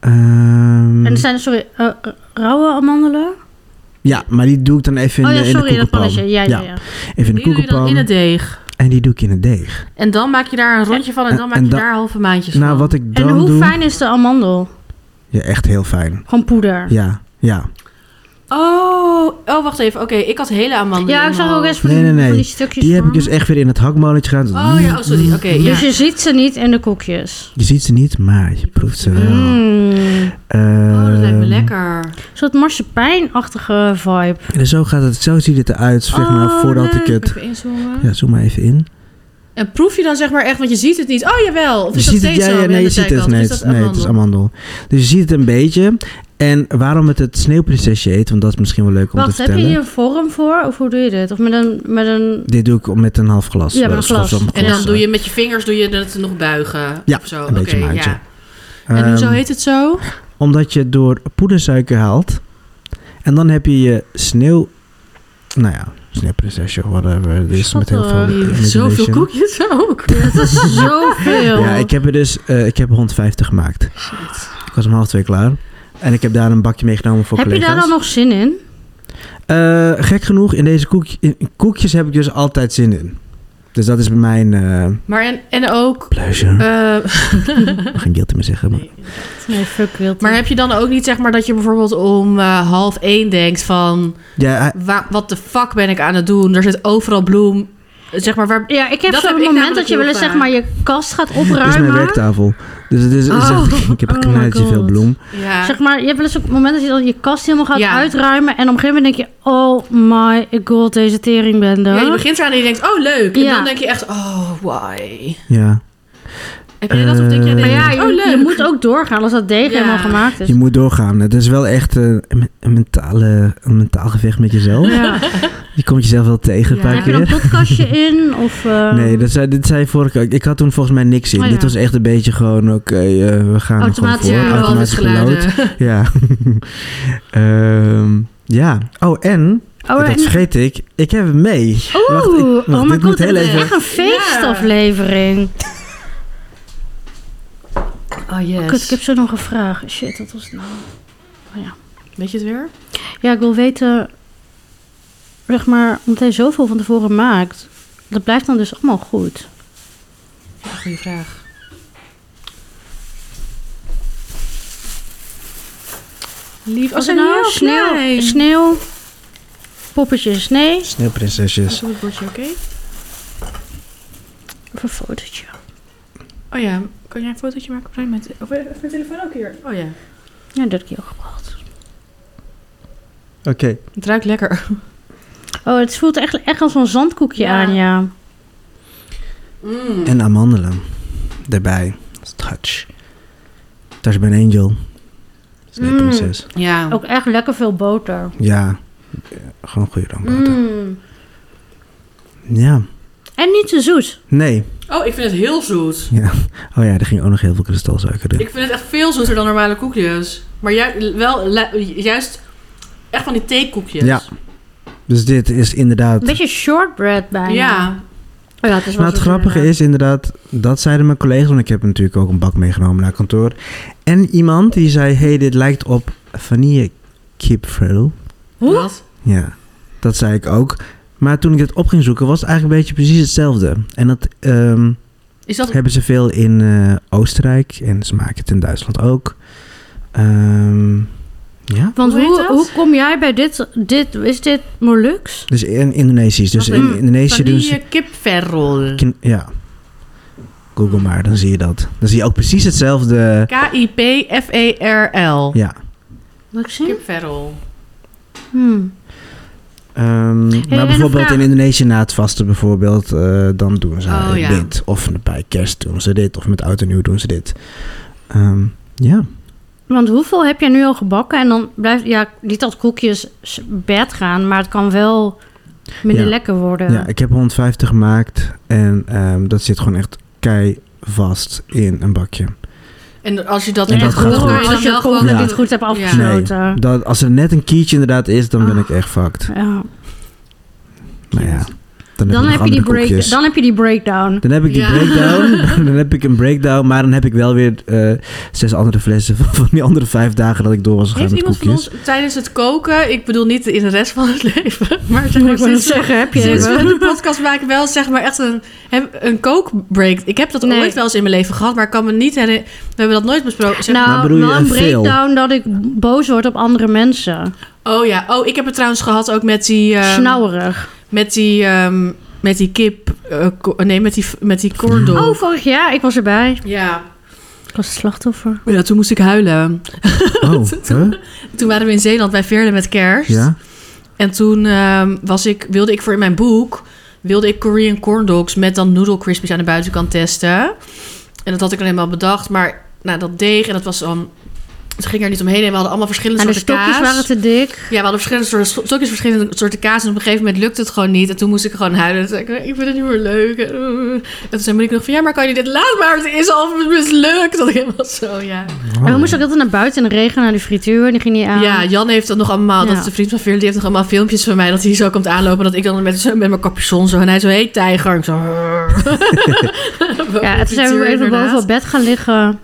Ehm, En er zijn, sorry, eh, eh, rauwe amandelen? Ja, maar die doe ik dan even in, oh ja, de, in de sorry, dat koekenpan. pannetje. Ja, ja, Ja, ja. Even in de Die doe je dan koekenpan. in het deeg. En die doe ik in het deeg. En dan maak je daar een rondje van en En- dan maak en je dan- daar halve maandjes Nou, van. wat ik En dan hoe doe... fijn is de amandel? Ja, echt heel fijn. Gewoon poeder. Ja, ja. Oh, oh wacht even. Oké, ik had hele amandelen. Ja, ik zag ook eens van, Nee, die- nee, nee. van die stukjes Die heb van. ik dus echt weer in het hakmolentje gedaan. Mm. Oh ja, oh, sorry. Oké, ja. Dus je ziet ze niet in de koekjes. Je ziet ze niet, maar je proeft ze wel. Mm. Oh, dat lijkt me Ehm, lekker. Een soort marsepeinachtige vibe. En zo gaat het, zo ziet het eruit, zeg maar, Oh, voordat ik leuk. het... Even inzoomen. Ja, zoom maar even in. En proef je dan zeg maar echt, want je ziet het niet. Oh, jawel. Of Je is dat ziet het, steeds ja, ja, zo aan de nee, je ziet zijkant? het. Of Nee, is het is, nee, het is amandel? amandel. Dus je ziet het een beetje. En waarom het het sneeuwprinsesje heet, want dat is misschien wel leuk om Wacht, te heb je vertellen. hier een vorm voor? Of hoe doe je dit? Of met een... Met een... Dit doe ik om- met een half glas. Ja, met eh, een schop glas. zo'n En dan glas, doe eh. je met je vingers doe je het nog buigen. Ja, of zo. een beetje Oké, maandje. ja. En hoezo Ehm, heet het zo? Omdat je door poedersuiker haalt. En dan heb je je sneeuw... Nou ja, sneeuwprinsesje, whatever. Het is met heel veel... eh, Schattig. manipulation. eh, Zoveel koekjes ook. Het is zoveel. Ja, ik heb er dus... eh, ik heb er 150 gemaakt. Ik was om half twee klaar. En ik heb daar een bakje meegenomen voor heb je collega's. daar dan nog zin in? Eh, gek genoeg, in deze koek, in koekjes heb ik dus altijd zin in. Dus dat is bij mijn eh Maar en, en ook... pleasure. eh, Ik mag geen guilty meer zeggen. Maar. nee. Nee, fuck wild. Maar heb je dan ook niet zeg maar dat je bijvoorbeeld om eh, half één denkt van... Ja, hij- Wa- wat de fuck ben ik aan het doen? Er zit overal bloem. Zeg maar, waar... Ja, ik heb Dat heb zo'n ik moment namelijk dat je wel eens heel zeg maar je kast gaat opruimen. dit is mijn werktafel. Dus het is, het is echt, ik heb een Oh knalletje my veel God. bloem. Ja. Zeg maar, je hebt wel eens op het moment dat je dan je kast helemaal gaat Ja. uitruimen. En op een gegeven moment denk je, oh my god, deze teringbende. Ja, je begint eraan en je denkt, oh leuk. En Ja. dan denk je echt, oh why? Ja. Heb jij dat of denk jij... Eh, Maar nee, ja, Oh, je, oh, leuk. je moet ook doorgaan als dat deeg Ja. helemaal gemaakt is. Je moet doorgaan. Het is wel echt eh, een, een mentale, een mentaal gevecht met jezelf. Ja. Je komt jezelf wel tegen Ja. een paar Heb je keer. dan een podcastje in? Of, eh, Nee, dat zei, dit zei vorige keer. Ik had toen volgens mij niks in. Oh, ja. Dit was echt een beetje gewoon, oké, eh, we gaan er gewoon Automatisch, voor. ja, Ja, Automatisch anders geluid. geluiden. Ja. Ehm, ja. Oh, en, Oh, en- dat vergeet ik, ik heb hem mee. Wacht, ik- Oeh, wacht, oh dit mijn moet god, heel het is even- echt een feestaflevering. Oh, yes. Kut, ik heb zo nog een vraag. Shit, dat was het nou. Weet je het weer? Ja, ik wil weten, zeg maar, omdat hij zoveel van tevoren maakt, dat blijft dan dus allemaal goed. Ja, goeie vraag. Lief, als Was er het nou sneeuw, sneeuw, poppetjes, nee. Sneeuwprinsesjes. Is op het bordje oké? Of een fotootje. Oh ja, kan jij een fotootje maken, Brian? Met, Oh, of even je telefoon ook hier. Oh ja. Ja, dat heb ik je ook gebracht. Oké. Het ruikt lekker. Oh, het voelt echt, echt als een zandkoekje Ja. aan, ja. En amandelen. Daarbij. Touch. Touch by an angel. Sneeuwprinses. Ja. Ook echt lekker veel boter. Ja. Eh, Gewoon goede roomboter. Mm. Ja. En niet te zoet. Nee. Oh, ik vind het heel zoet. Oh ja, er ging ook nog heel veel kristalsuiker in. Ik vind het echt veel zoeter dan normale koekjes. Maar ju- wel la- juist echt van die theekoekjes. Ja. Dus dit is inderdaad... Een beetje shortbread bijna. Ja. Oh ja, het is wel Maar het zoet grappige inderdaad. is inderdaad, dat zeiden mijn collega's, want ik heb natuurlijk ook een bak meegenomen naar kantoor. En iemand die zei, hey, dit lijkt op vanille kipfrul. Hoe? Wat? Ja, dat zei ik ook. Maar toen ik het op ging zoeken, was het eigenlijk een beetje precies hetzelfde. En dat ehm, Is dat... hebben ze veel in eh, Oostenrijk en ze maken het in Duitsland ook. Ehm, ja, Want Hoe hoe, heet hoe, dat? kom jij bij dit, dit? Is dit Molux? dus in Indonesisch. Dus Wat in een Indonesië doen ze... Vanille eh, kipferrol. kin- Ja, google maar, dan zie je dat. Dan zie je ook precies hetzelfde... K-I-P-F-E-R-L. Ja. Wat ik zie? E Kipferrol. Hmm. Ehm, en maar een bijvoorbeeld vraag. in Indonesië na het vasten bijvoorbeeld, eh, dan doen ze Oh, ja. dit. Of bij kerst doen ze dit, of met oud en nieuw doen ze dit. Ehm, ja, Want hoeveel heb jij nu al gebakken? En dan blijft, ja, niet dat koekjes s- bed gaan, maar het kan wel minder Ja. lekker ja. worden. ik heb 150 gemaakt en ehm, dat zit gewoon echt kei vast in een bakje. En als je dat En Nee, niet dat het goed gaat goed. gevoel, kan je Als dan je het wel gevoel gewoon... dat Ja. je het goed hebt afgesloten. Ja. Dat, als er net een kiertje inderdaad is, dan ben Ah. ik echt fucked. Maar ja, dan heb, Dan, ik heb nog je die andere break, koekjes. dan heb je die breakdown. Dan heb ik die Ja. breakdown. dan heb ik een breakdown. Maar dan heb ik wel weer eh, zes andere flessen van, van die andere vijf dagen dat ik door was gegaan Heeft met iemand van koekjes. ons tijdens het koken, ik bedoel niet in de rest van het leven, maar zeg Moet maar ik wel eens sinds, zeggen, heb je sinds we even. de podcast maken wel zeg maar echt een, heb- een kookbreak. Ik heb dat Nee. ooit wel eens in mijn leven gehad, maar ik kan me niet herinneren. We hebben dat nooit besproken. Zeg- Maar Nou, bedoel je wel een een veel? breakdown dat ik boos word op andere mensen. oh ja, oh ik heb het trouwens gehad ook met die, ehm, Snauwerig. met die, ehm, met die kip, eh, ko- nee met die, met die corn dog. Oh, vorig jaar. Ik was erbij. Ja. Ik was het slachtoffer. ja, toen moest ik huilen. Oh, huh? Toen waren we in Zeeland bij Veerle met kerst. ja? En toen ehm, was ik, wilde ik voor in mijn boek... wilde ik Korean corn dogs met dan noodle crispies aan de buitenkant testen. En dat had ik alleen maar bedacht. Maar nou, dat deeg en dat was dan... Het ging er niet omheen en we hadden allemaal verschillende En de soorten stokjes kaas. waren te dik. Ja, we hadden verschillende soorten sto- stokjes, verschillende soorten kaas. En op een gegeven moment lukte het gewoon niet. En toen moest ik gewoon huilen. En toen zei ik, ik vind het niet meer leuk. En eh, en toen zei Monique nog van, ja, maar kan je dit laat maar. Het is al mislukt. Dat ik helemaal zo, ja. Oh, En we moesten ook altijd naar buiten in de regen, naar de frituur. en Die ging niet aan. Ja, Jan heeft dat nog allemaal. Dat Ja. is de vriend van Veerle. Die heeft nog allemaal filmpjes van mij. Dat hij zo komt aanlopen. Dat ik dan met, zo- met mijn capuchon zo. En hij zo, hé, hey, tijger. En ik zo... Ja, toen zijn we even boven op bed gaan liggen.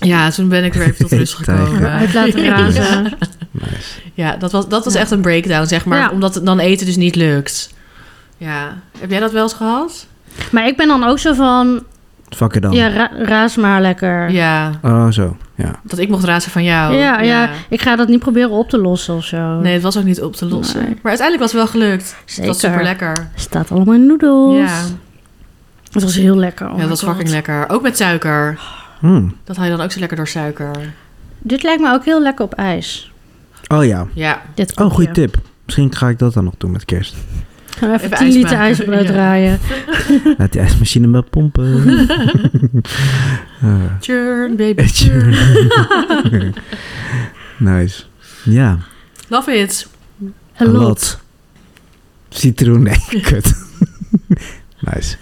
Ja, toen ben ik weer even tot rust Hey, tijger. gekomen. Uit laten razen. Nice. Ja, dat was, dat was Ja. echt een breakdown, zeg maar. Ja. Omdat het dan eten dus niet lukt. Ja. Heb jij dat wel eens gehad? Maar ik ben dan ook zo van, Fuck it dan. ja, ra- raas maar lekker. Ja. Ja. Oh, zo. Ja. Dat ik mocht razen van jou. Ja, ik ga dat niet proberen op te lossen of zo. Nee, het was ook niet op te lossen. Nee. Maar uiteindelijk was het wel gelukt. Het Zeker. Oh was super lekker. Staat allemaal in noedels. Ja. Het was heel lekker. Oh ja, dat was fucking lekker. Ook met suiker. Hmm. Dat haal je dan ook zo lekker door suiker. Dit lijkt me ook heel lekker op ijs. Oh ja. Ja. Dit Oh, kopje. goede tip. Misschien ga ik dat dan nog doen met kerst. Gaan we even, Even 10 ijs liter maken. ijsbrood Ja. draaien. Laat die ijsmachine maar pompen. Eh, Churn, baby, churn. tje. nice. Ja, Love it. A lot. Citroen, nee, kut. nice.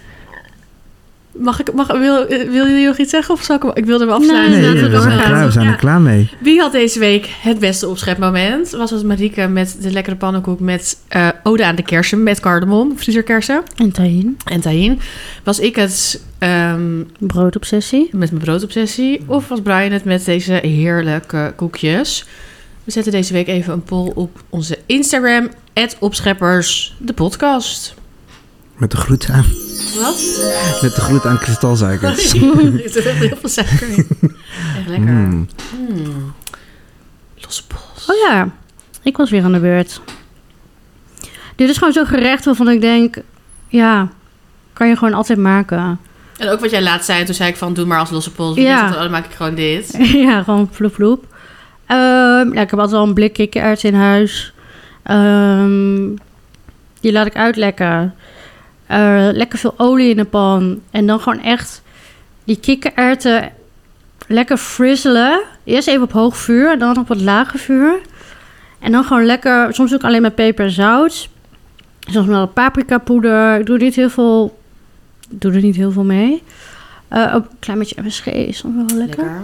Mag ik, mag, wil, eh, wil jullie nog iets zeggen of zal ik hem, ik wilde hem Nee, afsluiten? Nee, laten we we zijn, doorgaan. klaar, we zijn Ja. er klaar mee. Wie had deze week het beste opschepmoment? Was het Marieke met de lekkere pannenkoek met eh ode aan de kersen met cardamom, vriezerkersen En tahin. en tahin? Was ik het ehm, Broodobsessie. met mijn broodobsessie of was Brian het met deze heerlijke koekjes? We zetten deze week even een poll op onze Instagram, opscheppers, de podcast. Met de groet aan, Wat? met de groet aan kristalzuikers. er zit echt heel veel suiker in. Echt Oh, lekker. Mm. Mm. Losse pols. Oh ja, ik was weer aan de beurt. Dit is gewoon zo'n gerecht waarvan ik denk... Ja, kan je gewoon altijd maken. En ook wat jij laatst zei, toen zei ik van doe maar als losse pols. Ja. Ja. Dan maak ik gewoon dit. ja, gewoon vloep vloep. Ehm, nou, ik heb altijd al een blik kikkererwt in huis. Ehm, die laat ik uitlekken. Eh, lekker veel olie in de pan. En dan gewoon echt die kikkererwten lekker frizzelen. Eerst even op hoog vuur en dan op wat lager vuur. En dan gewoon lekker, soms ook alleen met peper en zout. Soms met wat paprikapoeder. Ik doe niet heel veel, ik doe er niet heel veel mee. Eh, ook een klein beetje MSG is soms wel lekker.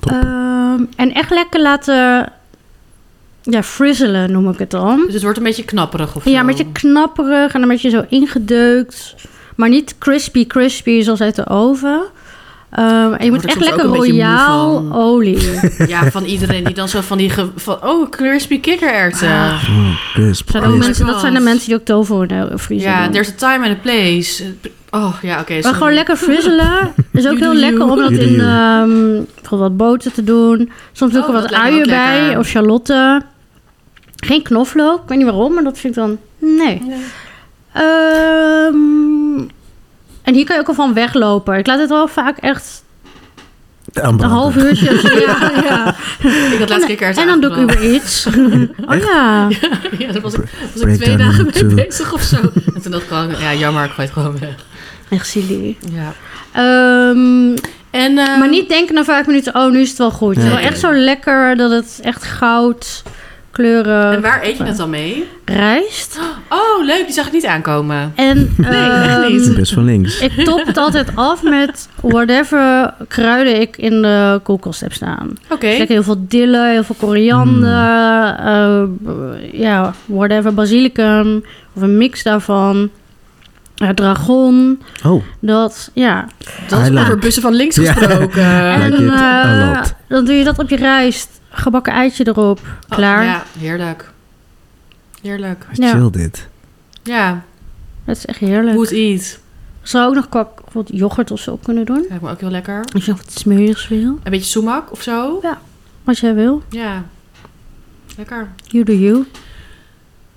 Top. Ehm, en echt lekker laten ja, frizzelen, noem ik het dan. Dus het wordt een beetje knapperig of zo. Ja, een beetje knapperig en een beetje zo ingedeukt. Maar niet crispy, crispy zoals uit de oven. Ehm, en je word moet ik echt soms lekker ook een beetje moe royaal van. olie. Ja, van iedereen die dan zo van die... ge- van, oh, crispy kikkererwten. Ah, Oh, crisp, Eh, Zijn ook crisp. mensen, dat zijn de mensen die ook tofu in de vriezer ja, doen. there's a time and a place. Oh, ja, oké. Maar sorry. gewoon lekker frizzelen. is You ook heel do lekker you. om dat You do in you. ehm, bijvoorbeeld wat boter te doen. Soms doe ik Oh, er wat dat lijkt me uien ook bij lekker. of charlotte. Geen knoflook, ik weet niet waarom, maar dat vind ik dan... Nee. Ehm, en hier kan je ook al van weglopen. Ik laat het wel vaak echt De een ambachten. half uurtje. of zo. ja, ja. Ik had laatst kikkererwten En dan doe ik aangenomen. Uber iets. Oh ja. Ja, daar was ik, was ik Break twee down dagen into- mee bezig of zo. En toen dacht ik gewoon, ja, jammer, ik gooi het gewoon weg. Echt silly. Ja. Ehm, En, eh, maar niet denken na vijf minuten, oh nu is het wel goed. Nee. Wel echt zo lekker dat het echt goud kleuren En waar eet je het dan mee? rijst. Oh, leuk, die zag ik niet aankomen. En echt ehm, niet. Bus van links. ik top het altijd af met whatever kruiden ik in de koelkast heb staan. Oké. Dus lekker heel veel dille, heel veel koriander, Mm. eh, ja, whatever, basilicum of een mix daarvan. Eh, dragon, Oh, dat, ja. Dat is Hij laat. over bussen van links Ja. gesproken. Like En it a eh, lot. dan doe je dat op je rijst, gebakken eitje erop, Oh, klaar. ja, heerlijk. Heerlijk. Ja. chill dit. Ja, Dat is echt heerlijk. goed eat. Zou ook nog qua- wat yoghurt of zo kunnen doen. Lijkt me ook heel lekker. Als je nog wat smerigs wil, Een beetje soemak of zo. als jij wil, Ja. Lekker. you do you.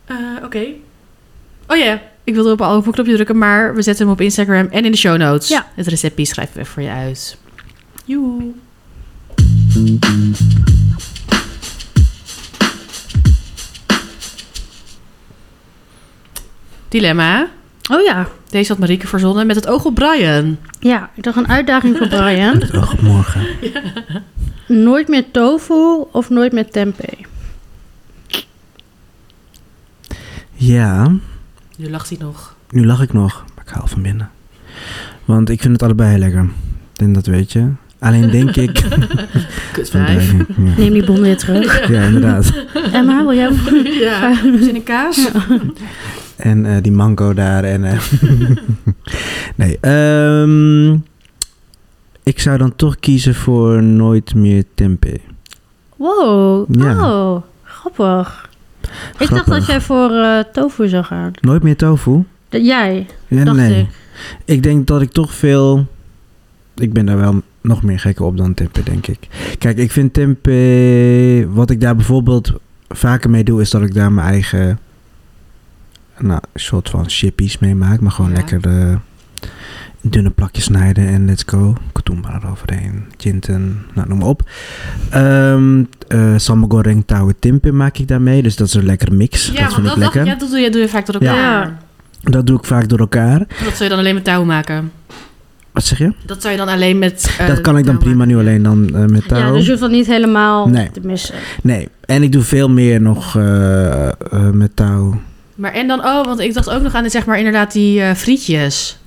Eh, Oké. Oh ja, ik wilde op een open knopje drukken, maar we zetten hem op Instagram en in de show notes. Ja. Het receptje schrijven we voor je uit. Joe. Dilemma. Oh ja, Deze had Marieke verzonnen met het oog op Brian. ja, ik dacht een uitdaging voor Brian. Het oog op morgen. Nooit meer tofu of nooit meer tempeh? Ja, Nu lacht hij nog. nu lach ik nog, maar ik haal van binnen. Want ik vind het allebei heel lekker. En dat weet je. Alleen denk ik... Kutwijf. Ja. Neem die bon weer terug. ja, inderdaad. Emma, wil jij... ja, zin in kaas. En eh, die mango daar en... eh, nee, ehm, ik zou dan toch kiezen voor nooit meer tempeh. Wow, Ja. oh, grappig. Ik dacht Grappig. dat jij voor eh, tofu zou gaan. Nooit meer tofu? Dat jij, Ja, dacht nee. ik. Ik denk dat ik toch veel... Ik ben daar wel nog meer gek op dan tempeh, denk ik. Kijk, ik vind tempeh... Wat ik daar bijvoorbeeld vaker mee doe, is dat ik daar mijn eigen... Nou, soort van chippies mee maak. Maar gewoon Ja. lekker eh, in dunne plakjes snijden en let's go. Katoenbaar eroverheen. Chinten, nou noem maar op. Ehm eh sambal goreng touwe tempeh maak ik daarmee. Dus dat is een lekkere mix. Ja, dat want vind ik dat, dacht lekker. ik, ja, dat doe je, doe je vaak door elkaar. Ja. Dat doe ik vaak door elkaar. Dat zou je dan alleen met touw maken. Wat zeg je? Dat zou je dan alleen met... eh, dat kan ik dan touw prima maken. nu alleen dan eh, met touw. Ja, dus je hoeft dat niet helemaal Nee. te missen. Nee, en ik doe veel meer nog eh, eh, met touw. Maar en dan, oh, want ik dacht ook nog aan, zeg maar, inderdaad die eh, frietjes.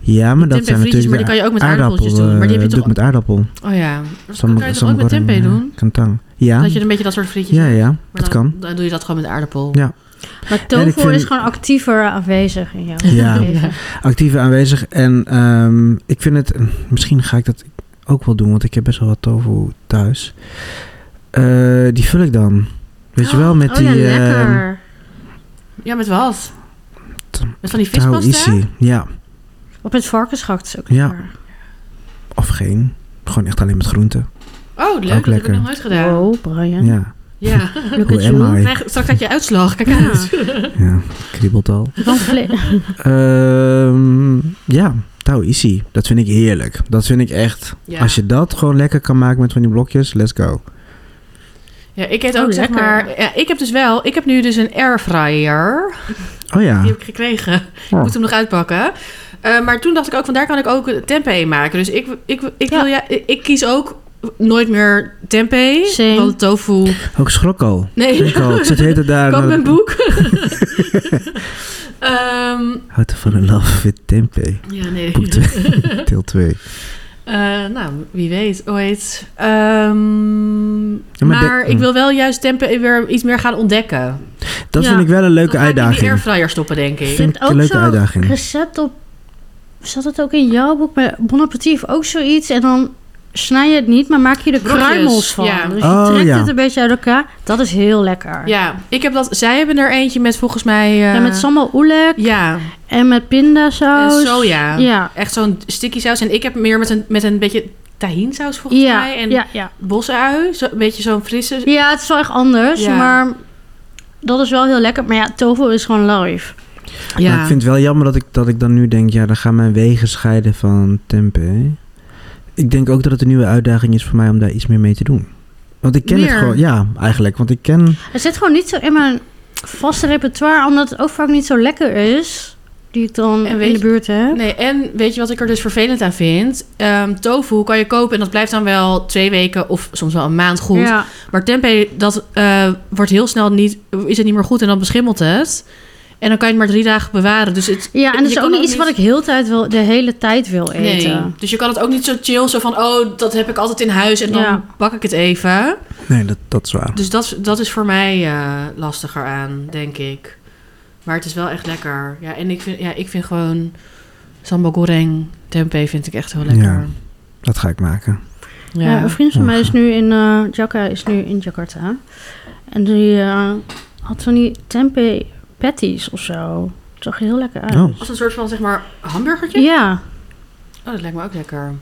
Ja, maar dat tempeh zijn frietjes, natuurlijk maar die kan je ook met aardappeltjes aardappel, doen. Maar die eh, heb je doe ik toch... met aardappel. Oh ja, dat kan je toch ook met sambakorrel, tempeh ja, doen? Kantang. eh, Ja, Dat je een beetje dat soort frietjes ja, hebt. ja, Maar dat dan- kan. Dan doe je dat gewoon met aardappel. Ja. Maar En tofu ik vind- is gewoon actiever aanwezig in jou. Ja. Actief aanwezig. En ehm, ik vind het... Misschien ga ik dat ook wel doen, want ik heb best wel wat tofu thuis. Eh, die vul ik dan. Weet je wel, met oh die... ja, eh, lekker. Ja, met wat? T- Met van die Tau vispasta? Isi. Ja, Op het varkensgehakt is ook Ja. lekker. of geen. Gewoon echt alleen met groenten. Oh, leuk. Ook dat heb ik lekker. nog nooit gedaan. Wow, Brian. Ja. Ja. Look Hoe at am you. I? Krijg- Straks had je uitslag. Kijk uit. Ja, kriebelt al. Van vle- Ehm, ja, Tau Isi. Dat vind ik heerlijk. Dat vind ik echt... Ja. Als je dat gewoon lekker kan maken met van die blokjes, let's go. Ja, ik eet Oh, ook, zeg lekker. maar... Ja, ik heb dus wel... Ik heb nu dus een airfryer. Oh ja. Die heb ik gekregen. Ik Ah. Oh. moet hem nog uitpakken. Eh, maar toen dacht ik ook, van daar kan ik ook tempeh maken. Dus ik, ik, ik, wil, ja, ik, ik kies ook nooit meer tempeh. Same. Want tofu... Ook schrokkel. Nee, Ik al. Ik zit heet het daar... koop mijn boek. Ehm, How to fall in love with tempeh. ja, nee. Boek 2. Deel 2. Eh, nou, wie weet, ooit. Ehm, Ja, maar maar de- ik wil wel juist tempen eh, weer iets meer gaan ontdekken. Dat Ja. vind ik wel een leuke Dan ga ik in die uitdaging. airfryer stoppen, denk ik. Vind ik ook een leuke zo uitdaging. Recept op... Zat het ook in jouw boek? Bij Bon Appetit ook zoiets. En dan snij je het niet, maar maak je er Brokjes, kruimels van. ja. Dus je Oh, trekt ja. het een beetje uit elkaar. Dat is heel lekker. Ja, ik heb dat. Zij hebben er eentje met volgens mij. eh, Ja, met sambal oelek Ja, en met pindasaus. en soja. Ja. Echt zo'n sticky saus. En ik heb meer met een, met een beetje tahinsaus volgens Ja, mij. En ja, ja. bosui. Zo, een beetje zo'n frisse. ja, het is wel echt anders, Ja. maar dat is wel heel lekker. Maar ja, tofu is gewoon live. Maar Nou, ik vind het wel jammer dat ik, dat ik dan nu denk... Ja, dan gaan mijn wegen scheiden van tempeh. Ik denk ook dat het een nieuwe uitdaging is voor mij om daar iets meer mee te doen. Want ik ken Meer? het gewoon... Ja, eigenlijk. Want ik ken... Het zit gewoon niet zo in mijn vaste repertoire, omdat het ook vaak niet zo lekker is. Die ik dan En in weet de je- buurt heb. Nee, en weet je wat ik er dus vervelend aan vind? Ehm, tofu kan je kopen en dat blijft dan wel twee weken of soms wel een maand goed. Ja. Maar tempeh, dat eh, wordt heel snel niet, is het niet meer goed en dan beschimmelt het. En dan kan je het maar drie dagen bewaren. Dus het, ja, en Je dat is kan ook niet ook iets niet- wat ik heel tijd wil, de hele tijd wil eten. nee. Dus je kan het ook niet zo chill, zo van, oh, dat heb ik altijd in huis en dan Ja. bak ik het even. Nee, dat, dat is waar. Dus dat, dat is voor mij eh, lastiger aan, denk ik. Maar het is wel echt lekker. Ja, en ik vind, ja, ik vind gewoon sambal goreng, tempeh vind ik echt heel lekker. Dat ga ik maken. Ja. Ja. een vriend van mij is nu in, eh Jaka, is nu in Jakarta. En die eh, had van die tempeh patties of zo. Het zag er heel lekker uit. Oh. Als een soort van, zeg maar, hamburgertje? Ja, Oh, dat lijkt me ook lekker.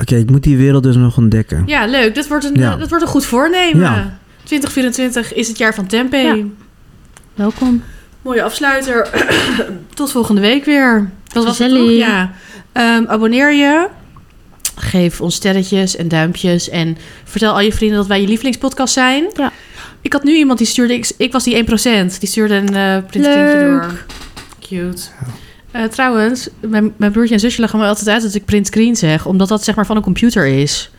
Oké, ik moet die wereld dus nog ontdekken. Ja, leuk. Dat wordt een, Ja. eh, dat wordt een goed voornemen. Ja. 2024 is het jaar van Tempeh. Ja. welkom. Mooie afsluiter. Tot volgende week weer. Dat was het Gezellig. toch? Ja. Ehm, abonneer je. Geef ons sterretjes en duimpjes. En vertel al je vrienden dat wij je lievelingspodcast zijn. Ja. Ik had nu iemand die stuurde... Ik, ik was die 1%. Die stuurde een eh printscreenje Leuk. door. Cute. Eh, trouwens, mijn, mijn broertje en zusje lachen me altijd uit dat ik printscreen zeg. Omdat dat zeg maar van een computer is.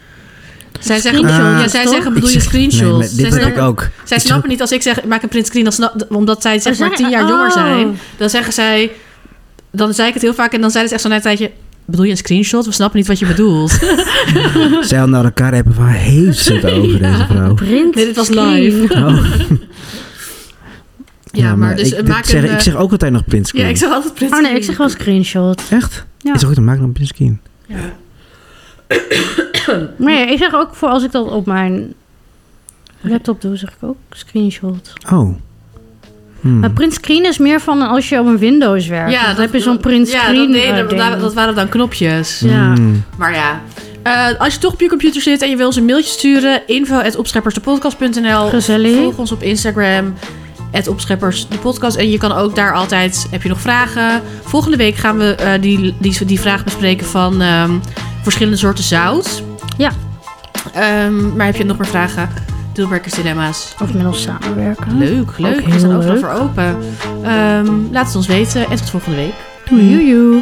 Zij zeggen, Screenshot, ja, zij toch? zeggen bedoel Ik je zeg- nee, screenshots? maar zij dit heb snappen- ik ook. zij Is snappen niet als ik zeg, maak een printscreen, dan snap- omdat zij zeg Oh, maar zij- tien jaar oh. jonger zijn. Dan zeggen zij, dan zei ik het heel vaak en dan zeiden ze echt zo na een tijdje, bedoel je een screenshot? We snappen niet wat je bedoelt. ook- Zij al naar elkaar hebben van... Heeft ze het over Ja. deze vrouw? Print. Nee, dit was screen. live. Oh. Ja, maar dus ik, eh, dit maak zeg, een... eh, ik zeg ook altijd nog printscreen. ja, ik zeg altijd Oh printscreen. nee, ik zeg wel screenshot. Echt? Ja. Is ook dan maak nog printscreen. Ja. Nee, ik zeg ook voor als ik dat op mijn laptop doe, zeg ik ook screenshot. Oh. Hmm. Maar print screen is meer van als je op een Windows werkt. Hm. Ja, Ja, dan dat- heb je zo'n print screen. Ja, dat, nee, eh, dat, ding. dat- dat waren dan knopjes. ja. Hmm. Maar ja, eh, als je toch op je computer zit en je wil ons een mailtje sturen, info.opscheppersdepodcast.nl. Gezellig. Volg ons op Instagram, opscheppers de podcast. En je kan ook daar altijd, heb je nog vragen? Volgende week gaan we eh, die, die, die vraag bespreken van ehm, verschillende soorten zout. Ja. Ehm, maar heb je nog meer vragen? Deelwerkers dilemma's. Of met ons samenwerken. Leuk, leuk. Ook We heel zijn overal leuk. voor open. Ehm, laat het ons weten en tot volgende week. Doei. Joejoe.